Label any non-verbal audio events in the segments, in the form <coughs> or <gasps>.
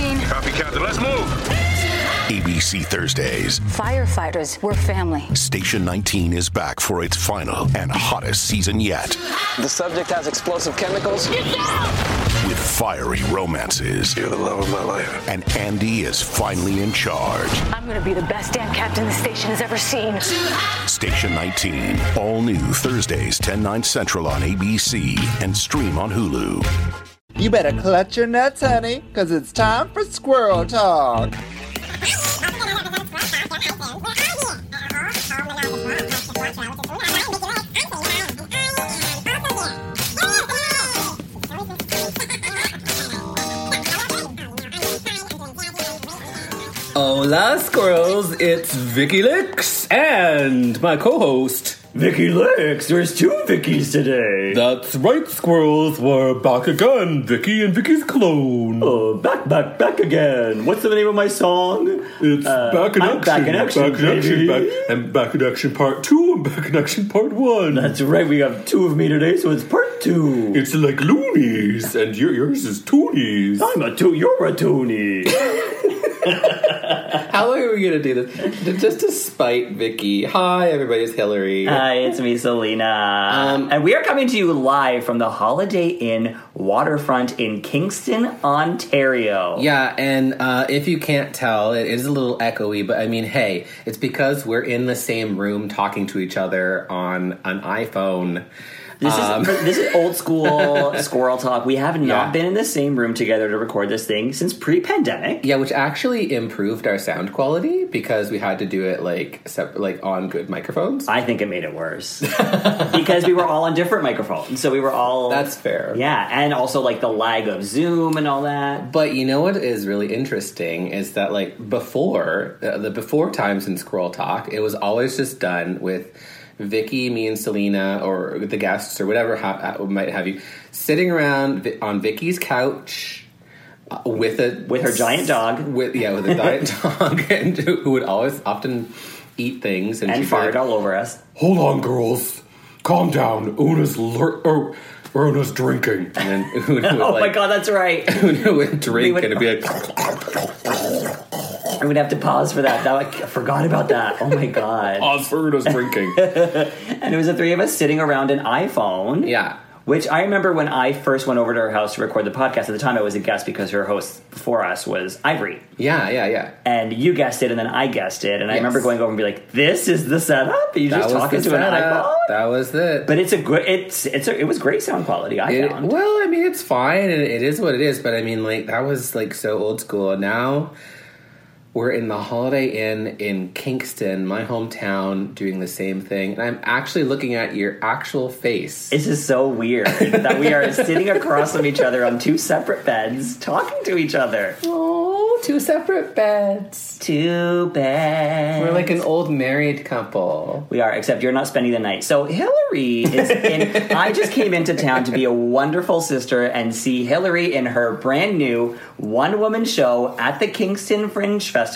Captain. Let's move. ABC Thursdays. Firefighters, we're family. Station 19 is back for its final and hottest season yet The subject has explosive chemicals. with fiery romances. You're the love of my life. And Andy is finally in charge. I'm gonna be the best damn captain the station has ever seen. Station 19, all new Thursdays, 10, 9 central on ABC and stream on Hulu. You better clutch your nuts, honey, because it's time for squirrel talk. Hola, squirrels! It's Vicky Licks and my co-host. Vicky Licks, there's two Vickies today. That's right, squirrels. We're back again, Vicky and Vicky's clone. Oh, back, back, back again. What's the name of my song? It's Uh, back in I'm action. back in action, Back in action. baby. Back, and back in action part two and back in action part one. That's right, we have two of me today, so it's part two. it's like loonies, and your, yours is toonies. I'm a two, you're a toonie. How long are we gonna do this? Just to spite Vicky. Hi, everybody. It's Hillary. Hi, it's me, Selena. Um, and we are coming to you live from the Holiday Inn waterfront in Kingston, Ontario. Yeah, and uh, if you can't tell, it is a little echoey, but I mean, hey, it's because we're in the same room talking to each other on an iPhone. This is <laughs> this is <laughs> old school squirrel talk. We have not um, Yeah. been in the same room together to record this thing since pre-pandemic. Yeah, which actually improved our sound quality because we had to do it like sep- like on good microphones. I think it made it worse <laughs> because we were all on different microphones, so we were all That's fair. Yeah, and also like the lag of Zoom and all that. But you know what is really interesting is that like before uh, the before times in Squirrel Talk, it was always just done with Vicky, me, and Selena, or the guests, or whatever ha- uh, might have you sitting around vi- on Vicky's couch uh, with a With her giant dog. with yeah with a <laughs> giant dog, and who would always often eat things and, she'd And be fart like, all <laughs> over us. <laughs> Hold on, girls. Calm down. Una's lur- or Una's drinking. er, and then <laughs> Una would <laughs> Oh my like, god, that's right. <laughs> Una would drink would- and it'd be <laughs> like I'm gonna have to pause for that. That I forgot about that. Oh <laughs> my god. Oz for Una's <laughs> drinking. And it was the three of us sitting around an iPhone. yeah. Which I remember when I first went over to her house to record the podcast. At the time, I was a guest because her host before us was Ivory. Yeah, yeah, yeah. and you guessed it, and then I guessed it, and I Yes. remember going over and be like, "This is the setup." You just talking to an iPhone, setup. That was it. but it's a good. It's it's a, it was great sound quality. I It- found. well, I mean, it's fine, and it is what it is. But I mean, like that was like so old school. Now we're in the Holiday Inn in Kingston, my hometown, doing the same thing. And I'm actually looking at your actual face. This is so weird that we are sitting across from each other on two separate beds, talking to each other. Oh, two separate beds. Two beds. We're like an old married couple. We are, except you're not spending the night. So Hillary is in. I just came into town to be a wonderful sister and see Hillary in her brand new one woman show at the Kingston Fringe Festival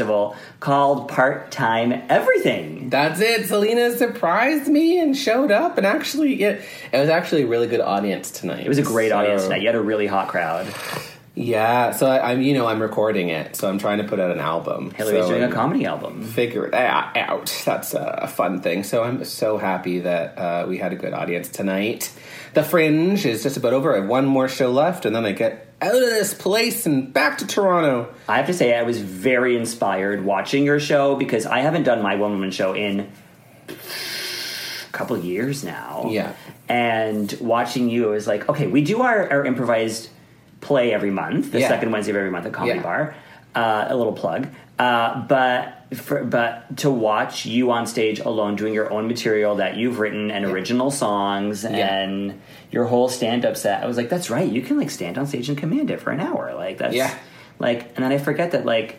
called Part Time Everything. That's it. Selena surprised me and showed up, and actually, it, it was actually a really good audience tonight. It was a great audience So- tonight. You had a really hot crowd. Yeah, so I, I'm you know I'm recording it, so I'm trying to put out an album. Hillary's so doing a I'm- comedy album. Figure it a- out. That's a, a fun thing. So I'm so happy that uh, we had a good audience tonight. The Fringe is just about over. I have one more show left, and then I get out of this place and back to Toronto. I have to say, I was very inspired watching your show because I haven't done my one woman show in a couple of years now. Yeah. And watching you, it was like, okay, we do our, our improvised play every month, the Yeah. second Wednesday of every month at Comedy Yeah. Bar. Uh, a little plug. Uh, but for, but to watch you on stage alone doing your own material that you've written and original songs and your whole stand up set, I was like, that's right. You can like stand on stage and command it for an hour. Like that's Yeah. like, and then I forget that like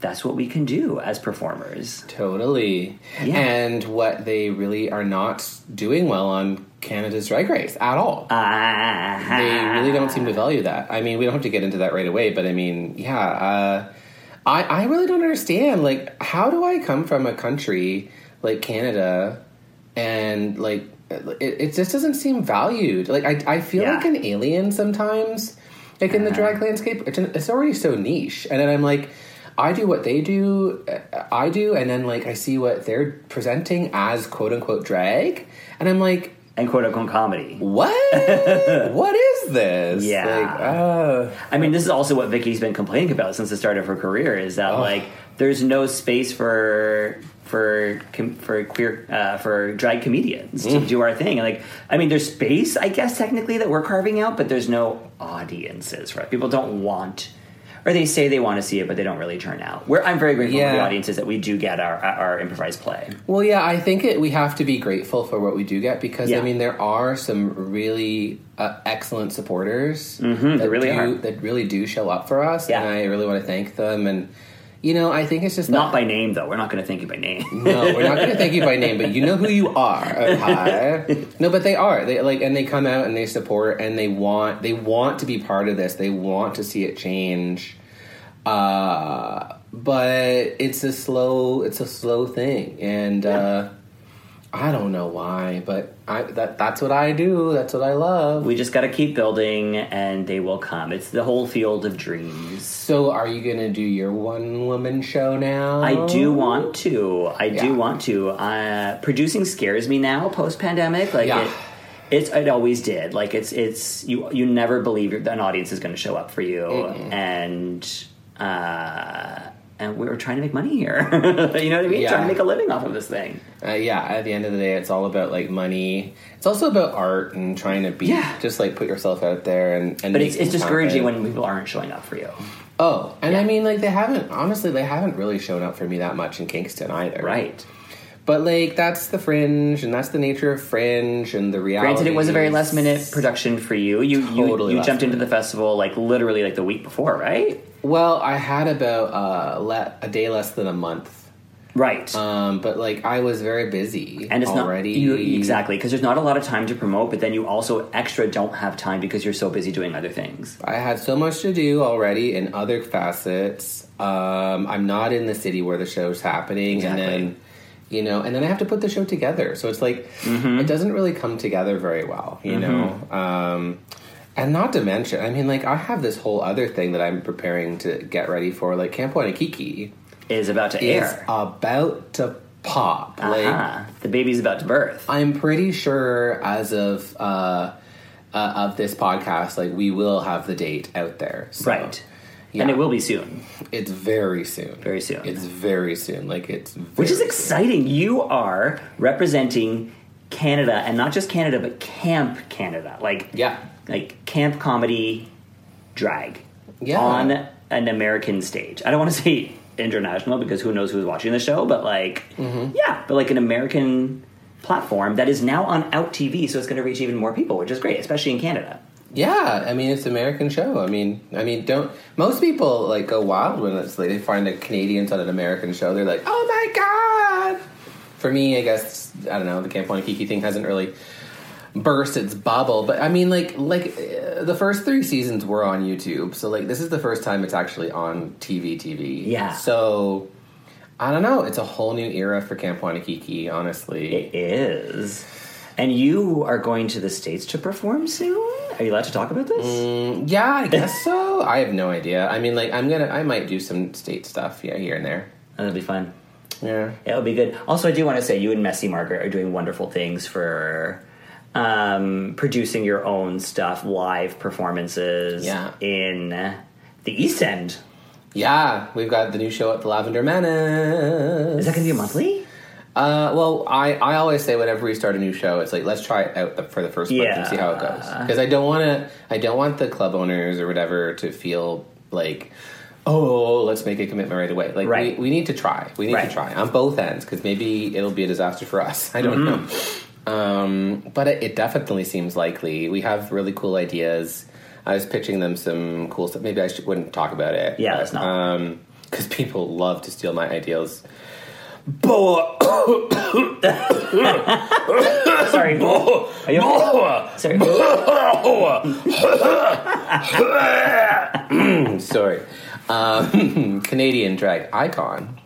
that's what we can do as performers. Totally. Yeah. And what they really are not doing well on Canada's Drag Race at all. Ah. they really don't seem to value that. I mean, we don't have to get into that right away, but I mean, yeah, uh, I I really don't understand. Like, how do I come from a country like Canada and like it, it just doesn't seem valued? Like, I I feel Yeah. like an alien sometimes. Like in the drag landscape, it's, it's already so niche. And then I'm like, I do what they do, uh, I do, and then like I see what they're presenting as quote unquote drag, and I'm like, and quote unquote comedy. <laughs> what? what is this? Yeah. Like, uh, I mean, this is also what Vicky's been complaining about since the start of her career is that Oh. like there's no space for for com- for queer uh, for drag comedians Mm. to do our thing. And, like, I mean, there's space, I guess, technically that we're carving out, but there's no audiences. Right? People don't want. Or they say they want to see it, but they don't really turn out. We're, I'm very grateful to the Yeah. audiences that we do get our our improvised play. Well, yeah, I think it, we have to be grateful for what we do get because Yeah. I mean there are some really uh, excellent supporters that Mm-hmm, really do, are. that really do show up for us, Yeah. and I really want to thank them. And you know, I think it's just that, Not by name, though. We're not going to thank you by name. no, we're not going to thank you by name, but you know who you are. Okay? No, but they are they like and they come out and they support and they want they want to be part of this. They want to see it change. Uh, but it's a slow it's a slow thing, and. uh I don't know why, but I that that's what I do. That's what I love. we just got to keep building, and they will come. It's the whole field of dreams. So, are you gonna do your one woman show now? I do want to. I do Oh. Yeah. want to. Uh, producing scares me now, post pandemic. Like Yeah. it, it's it always did. Like it's it's you you never believe an audience is going to show up for you, and uh, and we were trying to make money here. <laughs> you know what I mean? Yeah. Trying to make a living off of this thing. Uh, yeah. At the end of the day, it's all about like money. It's also about art and trying to be Yeah. just like put yourself out there and. and But make it's, it's things discouraging happen. when people aren't showing up for you, Oh, and I mean, like they haven't. Honestly, they haven't really shown up for me that much in Kingston either. right? Oh, But like that's the fringe, and that's the nature of fringe, and the reality. Granted, it was a very last minute production for you. You you, Totally you last jumped into the festival like literally like the week before, right? Well, I had about uh, le- a day less than a month Right. Um, but like I was very busy and it's already. not you, exactly because there's not a lot of time to promote but then you also extra don't have time because you're so busy doing other things I had so much to do already in other facets. Um, I'm not in the city where the show's happening, Exactly. and then you know, and then I have to put the show together. So it's like Mm-hmm. it doesn't really come together very well, you know. Um, and not to mention, I mean, like I have this whole other thing that I'm preparing to get ready for, like Camp Wanakiki is about to is air about to pop. Like Ah, the baby's about to birth I'm pretty sure as of uh, uh, of this podcast, like we will have the date out there, So, right yeah. and it will be soon It's very soon. Very soon. It's very soon. Like it's very which is soon. exciting you are representing canada and not just canada but camp canada like Yeah. like camp comedy drag Yeah. on an american stage i don't want to <laughs> say international because who knows who's watching the show but like yeah but like an american platform that is now on out tv so it's going to reach even more people which is great especially in canada Yeah, I mean it's an American show. I mean, I mean, don't most people like go wild when it's like they find a Canadians on an American show. They're like, oh my god. For me, I guess I don't know. The Camp Wanakiki thing hasn't really burst its bubble, but I mean, like, like uh, the first three seasons were on YouTube, so like this is the first time it's actually on TV. TV. Yeah. So. I don't know. It's a whole new era for Camp Wanakiki, honestly. it is and you are going to the states to perform soon are you allowed to talk about this Oh, Yeah, I guess so. I have no idea. I mean, like, I'm gonna, I might do some state stuff, yeah, here and there. that'll be fun Yeah. It'll be good. Also, I do want to say you and Messy Margaret are doing wonderful things for um, producing your own stuff, live performances Yeah. in the East End. Yeah, we've got the new show at the Lavender Menace. Is that going to be a <laughs> monthly? Uh, well, I, I always say whenever we start a new show, it's like let's try it out the, for the first month and see how it goes. Because I don't want to, I don't want the club owners or whatever to feel like, oh, let's make a commitment right away. Like Right. we, we need to try. We need Right. to try on both ends because maybe it'll be a disaster for us. <laughs> I don't Mm-hmm. know. Um, but it, it definitely seems likely. We have really cool ideas. I was pitching them some cool stuff. Maybe I should, wouldn't talk about it. Yeah, but, let's not. Um, because people love to steal my ideas. Boa. <coughs> Sorry. Are you okay? Sorry. <laughs> Sorry. Um, <laughs> Canadian drag icon.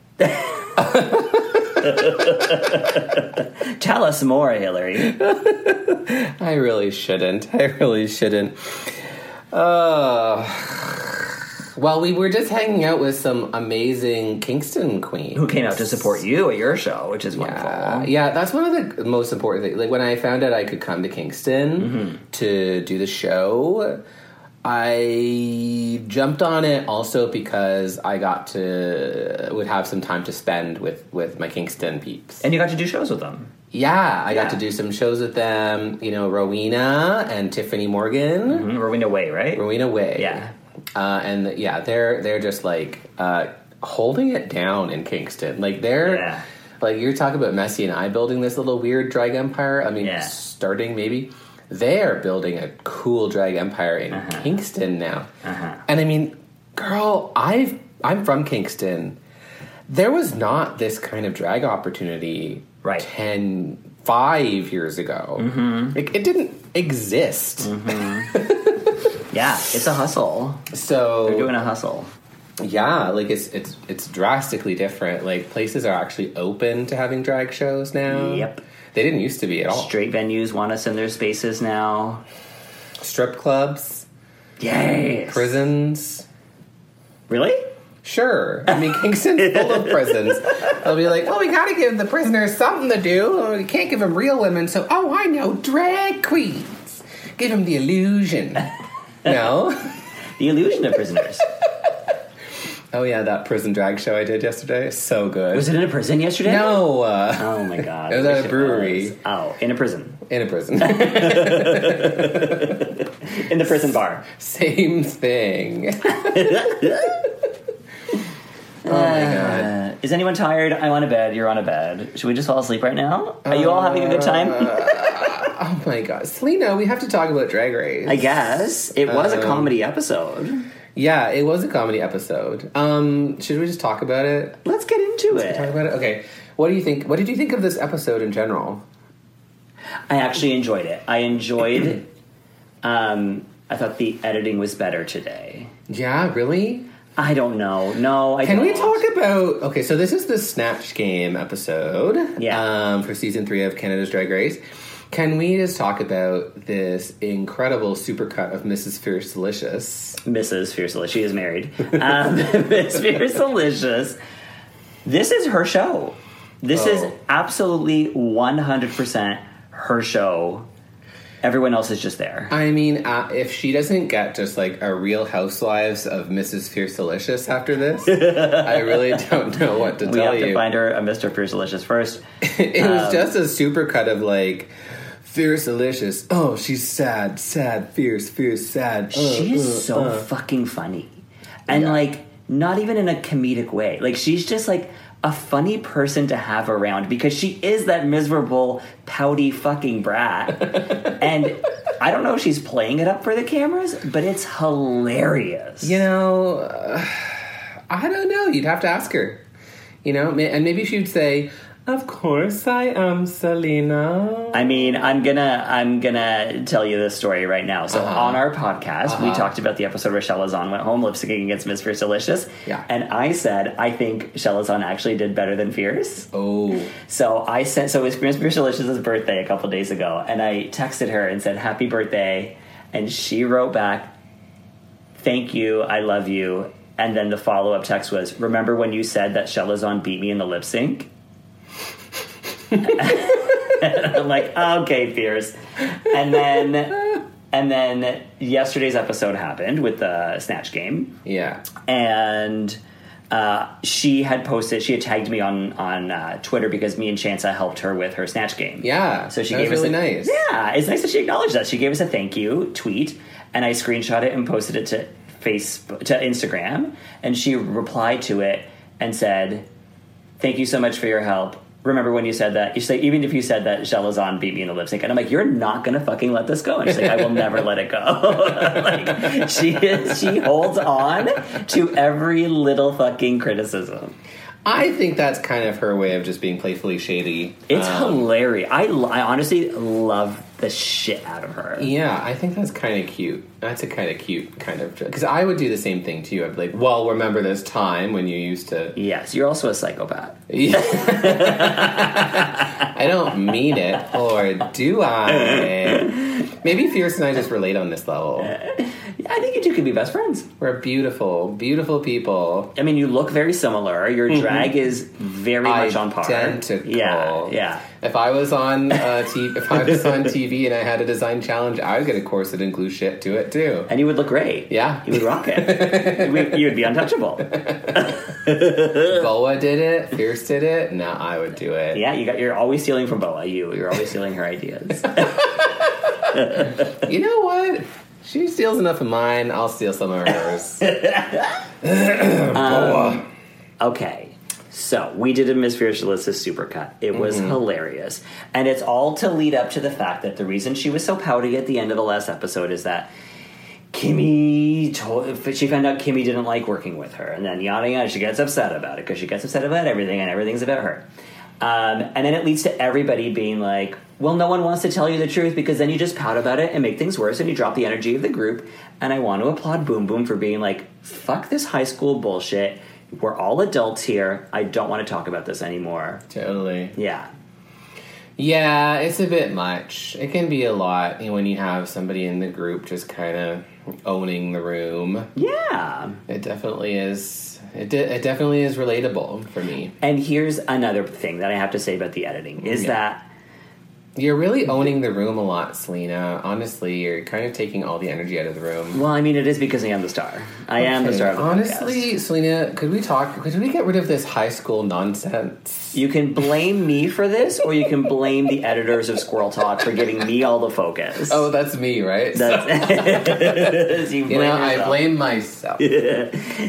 Tell us more, Hillary. I really shouldn't. I really shouldn't. Uh, well, we were just hanging out with some amazing Kingston queens. Who came out to support you at your show, which is wonderful. Uh, yeah, that's one of the most important things. Like when I found out I could come to Kingston to do the show, I jumped on it also because I got to would have some time to spend with with my Kingston peeps. And you got to do shows with them. yeah, I Yeah. got to do some shows with them. You know, Rowena and Tiffany Morgan. Mm, Rowena Way, right? Rowena Way. Yeah. Uh, and yeah, they're they're just like uh, holding it down in Kingston. Like they're Yeah. like you're talking about Messi and I building this little weird drag empire. I mean, Yeah. starting maybe they're building a cool drag empire in Uh-huh. Kingston now. And I mean, girl, I've I'm from Kingston. There was not this kind of drag opportunity Right. Mm-hmm. 10 5 years ago. Like it didn't exist. Yeah, it's a hustle. So We're doing a hustle. yeah, like it's it's it's drastically different. Like places are actually open to having drag shows now. Yep. They didn't used to be at all. Straight venues want us in their spaces now. Strip clubs, Yes. prisons. Really? Sure. I mean Kingston's full of prisons. They'll be like, "Well, we got to give the prisoners something to do. We can't give them real women, so oh, I know, drag queens. Give them the <laughs> illusion." no. The illusion of <laughs> prisoners. Oh yeah, that prison drag show I did yesterday is so good. Was it in a prison yesterday? no, uh, Oh my <laughs> god. It was at a Wish brewery. was. Oh, in a prison. in a prison. <laughs> In the prison bar. <laughs> <laughs> Oh Same thing. Uh, is anyone tired? I'm on a bed. You're on a bed. Should we just fall asleep right now? Are you all having a good Uh, time? Oh my god, Selena, we have to talk about Drag Race. I guess it was um, a comedy episode. yeah, it was a comedy episode. Um, should we just talk about it? Let's get into Talk it. about it. Okay. What do you think? What did you think of this episode in general? I actually enjoyed it. I enjoyed. um, I thought the editing was better today. Yeah, really. I don't know. No, I Can we don't. talk about? Okay, so this is the Snatch Game episode. Yeah. Um, for season three of Canada's Drag Race. Can we just talk about this incredible supercut of Mrs. Fierce Delicious? Mrs. Fierce Delicious. She is married. Um, <laughs> Miss Fierce Delicious. This is her show. This is Oh. absolutely 100% her show. Everyone else is just there. I mean, uh, if she doesn't get just like a Real Housewives of Mrs. Fierce Delicious after this, I <laughs> really don't know what to we tell have to you. find um, her a Mr. Fierce Delicious first. <laughs> it was just a supercut of like Fierce Delicious. Oh, she's sad, sad, fierce, fierce, sad. Uh, she's uh, so uh. fucking funny. And like, not even in a comedic way. Like, she's just like a funny person to have around because she is that miserable, pouty fucking <laughs> brat. and I don't know if she's playing it up for the cameras, but it's hilarious. You know, uh, <sighs> I don't know. You'd have to ask her. You know, ma- and maybe she'd say, "Of course I am, Selena." I mean, I'm gonna I'm gonna tell you this story right now. So Uh-huh. on our podcast, we talked about the episode where Shelazon went home lip syncing against Miss Fierce Delicious. Yeah. And I said I think Shelazon actually did better than Fierce. Oh. So I sent so it was Miss Fierce Delicious' birthday a couple days ago, and I texted her and said happy birthday, and she wrote back, "Thank you, I love you." And then the follow up text was, "Remember when you said that Shelazon beat me in the lip sync?" I'm like, okay, Fierce. And then and then yesterday's episode happened with the snatch game Yeah. and uh, she had posted she had tagged me on on uh, Twitter because me and Chansa helped her with her snatch game. Yeah. So she that was gave us really a, nice. Yeah, it's nice that she acknowledged that. She gave us a thank you tweet, and I screenshot it and posted it to Facebook to Instagram, and she replied to it and said, "Thank you so much for your help." Remember when you said that? You say even if you said that Shelazon beat me in the lip sync, and I'm like, you're not gonna fucking let this go. And she's like, I will never let it go. <laughs> like she is, she holds on to every little fucking criticism. I think that's kind of her way of just being playfully shady. It's Um, hilarious. I, lo- I honestly love the shit out of her. yeah, I think that's kind of cute. That's a kind of cute kind of because I would do the same thing too. I'd be like, "Well, remember this time when you used to?" <laughs> Yes, you're also a psychopath. I don't mean it, or do I? Maybe Fierce and I just relate on this level. I think you two could be best friends. We're beautiful, beautiful people. I mean, you look very similar. Your drag is very much on par. Identical. Yeah, yeah. If I was on uh, TV, if I was on TV and I had a design challenge, I would get a corset and glue shit to it too. And you would look great. Yeah. you would rock it. you, would, you would be untouchable. Boa did it. Fierce did it. Now I would do it. Yeah, you got. You're always stealing from Boa. You, you're always stealing her ideas. You know what? She steals enough of mine. I'll steal some of <laughs> hers. Okay. So we did a Miss Fierce supercut. It was hilarious. And it's all to lead up to the fact that the reason she was so pouty at the end of the last episode is that Kimmy told, she found out Kimmy didn't like working with her. And then yada yada, she gets upset about it because she gets upset about everything and everything's about her. Um, and then it leads to everybody being like, well, no one wants to tell you the truth because then you just pout about it and make things worse and you drop the energy of the group. And I want to applaud Boom Boom for being like, fuck this high school bullshit. We're all adults here. I don't want to talk about this anymore. totally. Yeah. Yeah, it's a bit much. It can be a lot you know, when you have somebody in the group just kind of owning the room. Yeah. It definitely is. It, de- it definitely is relatable for me. And here's another thing that I have to say about the editing is Yeah. that You're really owning the room a lot, Selena. Honestly, you're kind of taking all the energy out of the room. well, I mean it is because I am the star. I am the Okay, star of the podcast. Honestly, Selena, could we talk? Could we get rid of this high school nonsense? You can blame me for this, or you can blame the editors of Squirrel Talk for giving me all the focus. Oh, <laughs> that's me, right? That's- <laughs> you you blame know, I yourself. blame myself.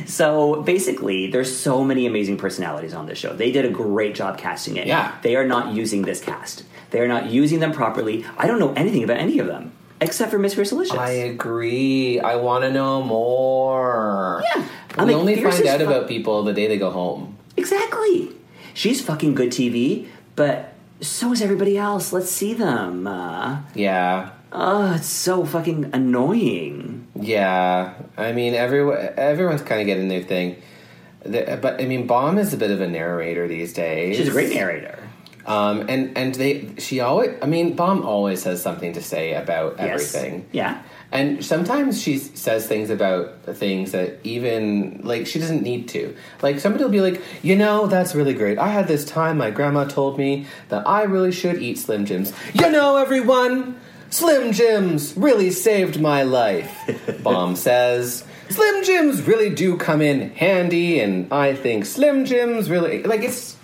So basically, there's so many amazing personalities on this show. They did a great job casting it. Yeah. They are not using this cast. They are not using them properly. I don't know anything about any of them except for Miss Fierce Delicious. I agree. I want to know more. Yeah, I we mean, only Fierce find is out fu- about people the day they go home. exactly. She's fucking good TV, but so is everybody else. Let's see them. Uh, Yeah, oh, it's so fucking annoying. yeah. I mean, everyone everyone's kind of getting their thing. The- But I mean, Bomb is a bit of a narrator these days. She's a great narrator. Um, and and they she always. I mean, Bomb always has something to say about Yes. everything. Yeah. And sometimes she s- says things about things that even like she doesn't need to. Like somebody will be like, you know, that's really great. I had this time my grandma told me that I really should eat Slim Jims. You know, everyone, Slim Jims really saved my life. Bomb says. Slim Jims really do come in handy, and I think Slim Jims really like it's.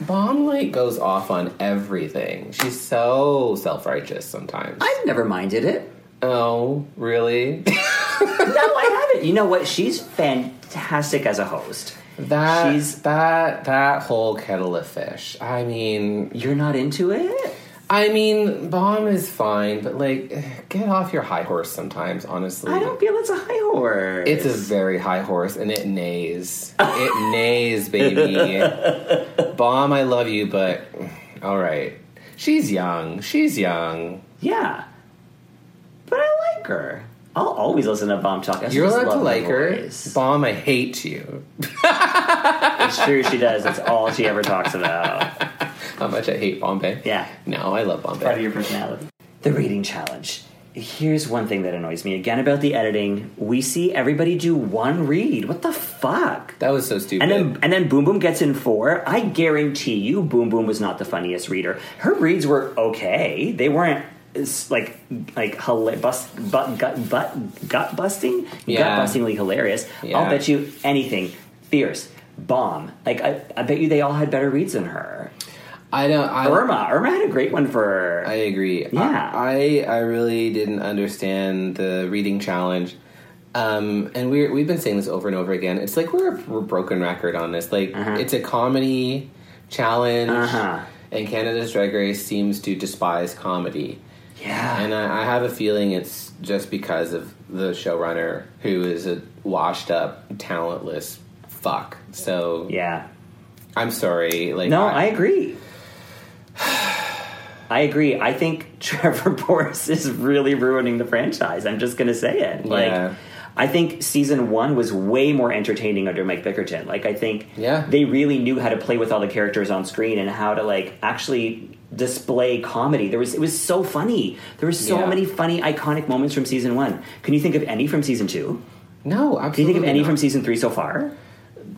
Bomb like goes off on everything. She's so self righteous sometimes. I've never minded it. Oh, really? No, I haven't. You know what? She's fantastic as a host. That She's- that that whole kettle of fish. I mean, You're not into it? I mean, bomb is fine, but like, get off your high horse sometimes. Honestly, I don't feel it's a high horse. It's a very high horse, and it <laughs> neighs. It neighs, baby. bomb, I love you, but all right. She's young. She's young. yeah, but I like her. I'll always listen to Bomb Talk. I You're just allowed to love like her. voice. Bomb, I hate you. It's true, she does. That's all she ever talks about. How much I hate Bombay. Yeah. No, I love Bombay. Part of your personality. The rating challenge. Here's one thing that annoys me again about the editing. We see everybody do one read. What the fuck? that was so stupid. And then and then Boom Boom gets in four. I guarantee you, Boom Boom was not the funniest reader. Her reads were okay. They weren't it's like like hila- bust, butt, gut butt, gut busting, Yeah. gut bustingly hilarious. Yeah. I'll bet you anything. Fierce, bomb. Like I, I bet you they all had better reads than her. I don't. I, Irma, Irma had a great one for. I agree. Yeah. I, I I really didn't understand the reading challenge. Um, and we we've been saying this over and over again. It's like we're a, we're a broken record on this. Like it's a comedy challenge, Uh-huh. and Canada's Drag Race seems to despise comedy. yeah, And I, I have a feeling it's just because of the showrunner, who is a washed up, talentless fuck. So yeah. I'm sorry. Like No, I agree. I agree. I think <laughs> Trevor Boris is really ruining the franchise. I'm just going to say it. Like, Yeah. I think season one was way more entertaining under Mike Bickerton. Like, I think Yeah. they really knew how to play with all the characters on screen and how to like actually display comedy. There was it was so funny. There were so Yeah. many funny, iconic moments from season one. Can you think of any from season two? No, absolutely. Can you think of any not. from season three so far?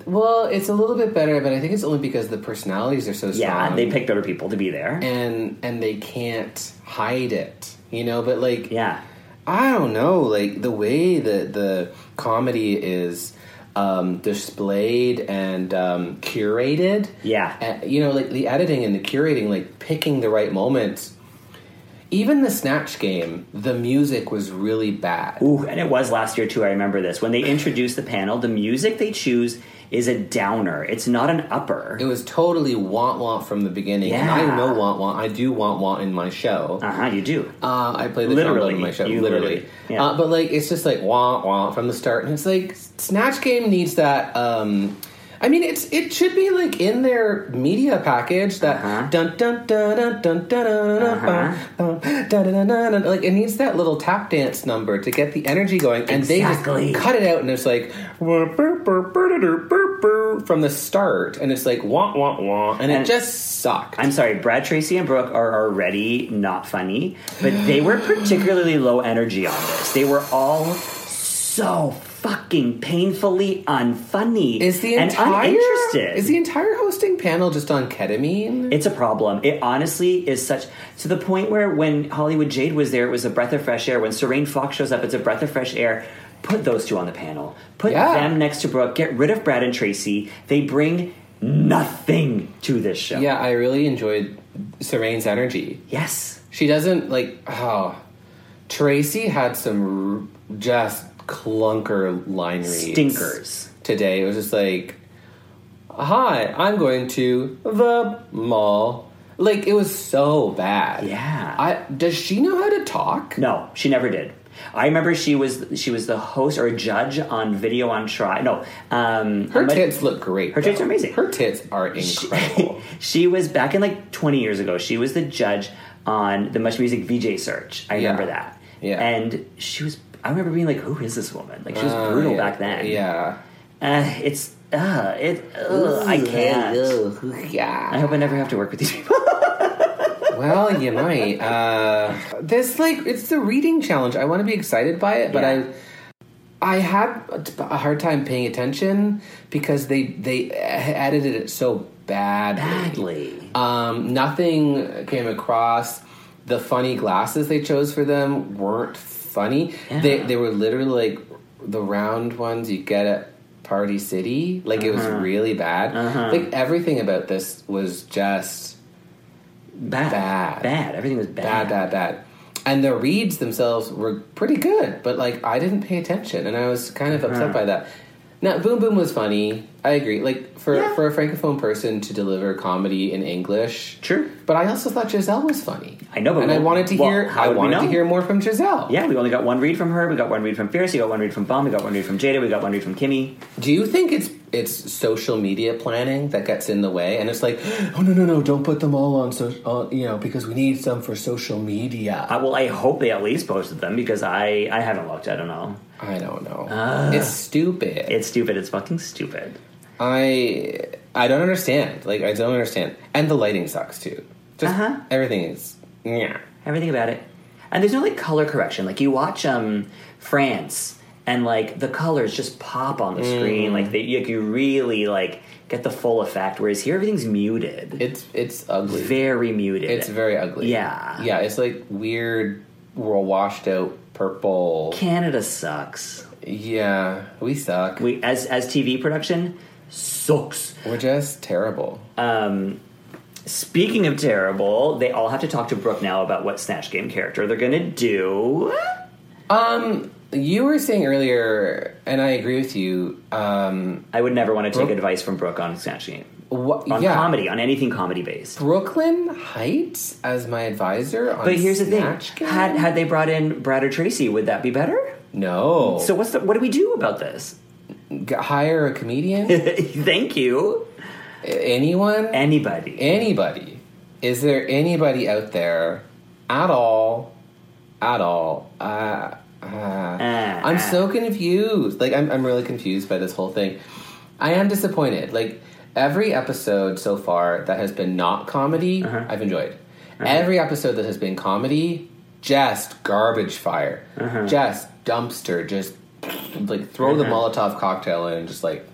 Well, it's a little bit better, but I think it's only because the personalities are so strong. Yeah, they picked other people to be there. Um, and and they can't hide it, you know. But like, yeah. I don't know, like the way that the comedy is um, displayed and um, curated. Yeah. Uh, you know, like the editing and the curating, like picking the right moments. Even the snatch game, the music was really bad. Ooh, and it was last year too. I remember this when they introduced the panel. The music they choose is a downer. It's not an upper. It was totally want want from the beginning. And Yeah. I know want want. I do want want in my show. Uh huh. You do. Uh, I play the Literally, trombone in my show, you literally. literally- yeah. Uh, but like, it's just like wah wah from the start, and it's like Snatch Game needs that. Um, I mean, it's it should be like in their media package that Uh-huh. dun dun dun dun dun dun dun dun dun dun dun dun dun dun. Like it needs that little tap dance number to get the energy going, and Exactly. they just cut it out, and it's like wah, burr, burr, burr, burr, burr, burr, from the start, and it's like wah wah wah, and, And- it just sucked. I'm sorry, Brad Tracy and Brooke are already not funny, but they were particularly low energy on this. They were all so fucking painfully unfunny Is the and entire uninterested. is the entire hosting panel just on ketamine? It's a problem. It honestly is such to the point where when Hollywood Jade was there, it was a breath of fresh air. When Serene Fox shows up, it's a breath of fresh air. Put those two on the panel. Put Yeah. them next to Brooke. Get rid of Brad and Tracy. They bring nothing to this show. Yeah, I really enjoyed Serene's energy. Yes. She doesn't like oh Tracy had some r- just clunker line reads Stinkers. today. It was just like Hi, I'm going to the mall. Like it was so bad. Yeah. I does she know how to talk? No, she never did. I remember she was she was the host or a judge on Video on Trial. No, um, Her but- tits look great. Her tits though. are amazing. Her tits are incredible. She was back in like 20 years ago. She was the judge on the Much Music VJ search. I Yeah. remember that. Yeah. And she was. I remember being like, "Who is this woman?" Like she was brutal Uh, yeah, <laughs> back then. Yeah. Uh, it's. Uh, it. Uh, I can't. I Yeah. hope I never have to work with these people. <laughs> Well, you might. Uh, this like it's the reading challenge. I want to be excited by it, but Yeah. I I had a t- a hard time paying attention because they they edited it so badly. Badly. Um, nothing came across. The funny glasses they chose for them weren't funny. They Yeah. they were literally like the round ones you get at Party City. Like it Uh-huh. was really bad. Like everything about this was just Bad. Bad. Bad. Everything was bad, bad, bad. bad. And the reads themselves were pretty good, but like I didn't pay attention, and I was kind of upset by that. Now, Boom Boom was funny. I agree. Like for for a francophone person to deliver comedy in English, Sure. But I also thought Giselle was funny. I know, but and I well- wanted to well, hear. how I would we wanted to know? hear more from Giselle. Yeah, we only got one read from her. We got one read from Fierce. We got one read from Bomb. We got one read from Jada. We got one read from Kimmy. Do you think it's it's social media planning that gets in the way? And it's like, <gasps> oh no no no, don't put them all on so on, you know because we need some for social media. Uh, well, I hope they at least posted them because I I haven't looked. I don't know. I don't know. uh. it's stupid. It's stupid. It's fucking stupid. I I don't understand. Like I don't understand. And the lighting sucks too. Just Uh-huh. everything is yeah. Everything about it. And there's no like color correction. Like you watch um France and like the colors just pop on the screen. Like they, like you really like get the full effect. Whereas here everything's muted, It's it's ugly. very muted. it's very ugly. Yeah. Yeah, it's like weird well washed out purple. Canada sucks. Yeah, we suck. We as as TV production sucks. We're just terrible. Speaking of terrible, they all have to talk to Brooke now about what Snatch Game character they're gonna do. you were saying earlier and I agree with you. Um I would never want to take Brooke- advice from Brooke on Snatch Game. what On yeah. comedy, on anything comedy based. Brooklyn Heights as my advisor on But here's the thing: Snatch Game? had had they brought in Brad or Tracy, would that be better? no. So what's the what do we do about this? <laughs> G- hire a comedian? Thank you. Anyone? Anybody? anybody is there anybody out there at all at all uh, uh, Uh, i'm so Uh-uh. confused like I'm, I'm really confused by this whole thing i am Uh-huh. disappointed like every episode so far that has been not comedy i've enjoyed Every episode that has been comedy, just garbage fire, Uh-huh. just dumpster, just like throw the Molotov cocktail in and just like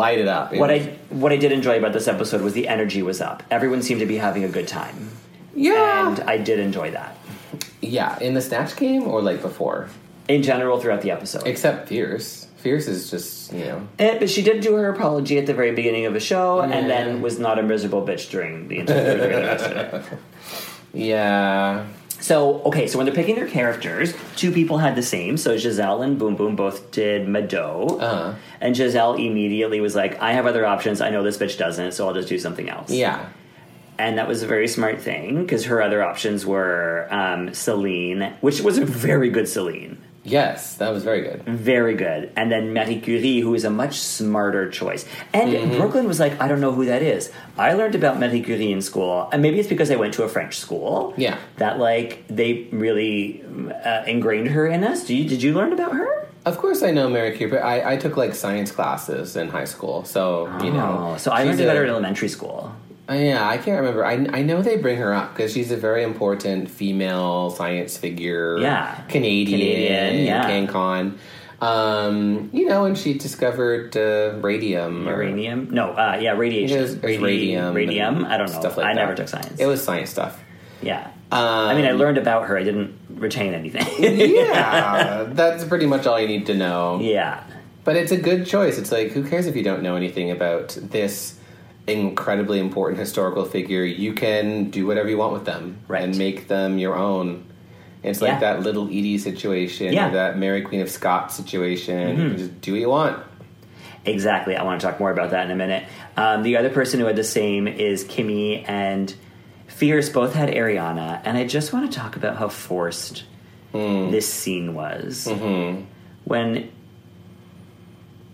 light it up. It Uh-huh. What was- I what I did enjoy about this episode was the energy was up. Everyone seemed to be having a good time, yeah and I did enjoy that. yeah in the snatch game or like before, In general, throughout the episode, except fierce. Fierce is just you know Eh, but she did do her apology at the very beginning of the show, and Yeah. then was not a miserable bitch during the entire during the rest of it. yeah So okay, so when they're picking their characters, two people had the same. So Giselle and Boom Boom both did Mado, Uh-huh. and Giselle immediately was like, "I have other options. I know this bitch doesn't, so I'll just do something else." yeah and that was a very smart thing because her other options were um, Celine, which was a very good Celine, yes that was very good. very good, and then Marie Curie, who is a much smarter choice. And Mm-hmm. Brooklyn was like, I don't know who that is. I learned about Marie Curie in school, and maybe it's because I went to a French school. Yeah. that like they really uh, ingrained her in us. Do you did you learn about her? Of course, I know Mary Cooper. I, I took like science classes in high school, so you know. Oh, so I learned she's about her in a- elementary school. Uh, yeah, I can't remember. I, I know they bring her up because she's a very important female science figure. Yeah. Canadian, Canadian, yeah. CanCon. Um, you know, and she discovered uh, radium. or- Uranium? No, uh, yeah, radiation. It was, it was Radi- radium. and Radium? I don't know. Stuff like I that. never took science. It was science stuff. Yeah. I mean, I learned about her. I didn't retain anything. Yeah, <laughs> that's pretty much all you need to know. <laughs> yeah. But it's a good choice. It's like, who cares if you don't know anything about this incredibly important historical figure? You can do whatever you want with them Right. and make them your own. It's like Yeah. that little Edie situation, Yeah. Mm-hmm. or that Mary Queen of Scots situation. You can just do what you want. Exactly. I want to talk more about that in a minute. Um, the other person who had the same is Kimmy and Fierce both had Ariana, and I just want to talk about how forced this scene was. Mm-hmm. When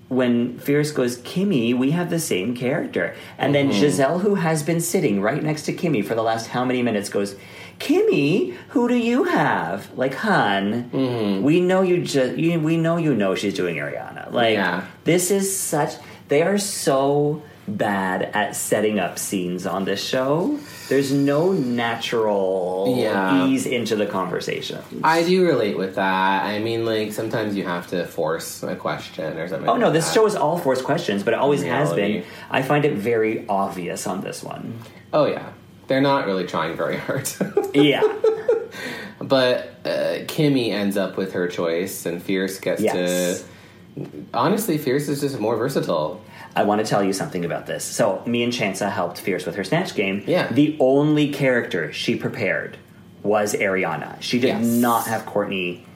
when Fierce goes, Kimmy, we have the same character. And then Mm-hmm. Giselle, who has been sitting right next to Kimmy for the last how many minutes, goes, Kimmy, who do you have? Like, hun, Mm-hmm. we know you just, you, we know you know she's doing Ariana. Like, Yeah. this is such, they are so bad at setting up scenes on this show. There's no natural Yeah. ease into the conversation. I do relate with that. I mean, like, sometimes you have to force a question or something. Oh no, like this that. show is all forced questions, but it always has Reality. been. I find it very obvious on this one. Oh, yeah. They're not really trying very hard. <laughs> Yeah. But uh, Kimmy ends up with her choice, and Fierce gets Yes. to. Honestly, Fierce is just more versatile. I want to tell you something about this. So, me and Chansa helped Fierce with her snatch game. Yeah. The only character she prepared was Ariana. She did Yes. not have Courtney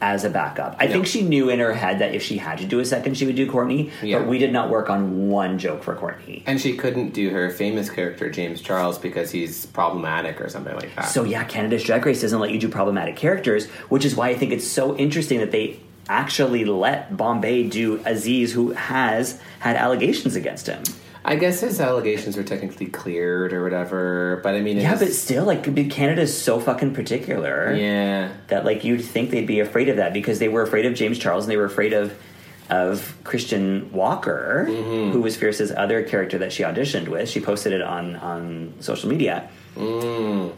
as a backup. I think she knew in her head that if she had to do a second, she would do Courtney, Yeah. but we did not work on one joke for Courtney. And she couldn't do her famous character, James Charles, because he's problematic or something like that. So yeah, Canada's Drag Race doesn't let you do problematic characters, which is why I think it's so interesting that they actually let Bombay do Aziz, who has had allegations against him. I guess his allegations were technically cleared or whatever, but I mean, it Yeah, is- but still, like Canada's so fucking particular yeah. that like you'd think they'd be afraid of that because they were afraid of James Charles and they were afraid of of Christian Walker, who was Fierce's other character that she auditioned with. She posted it on on social media.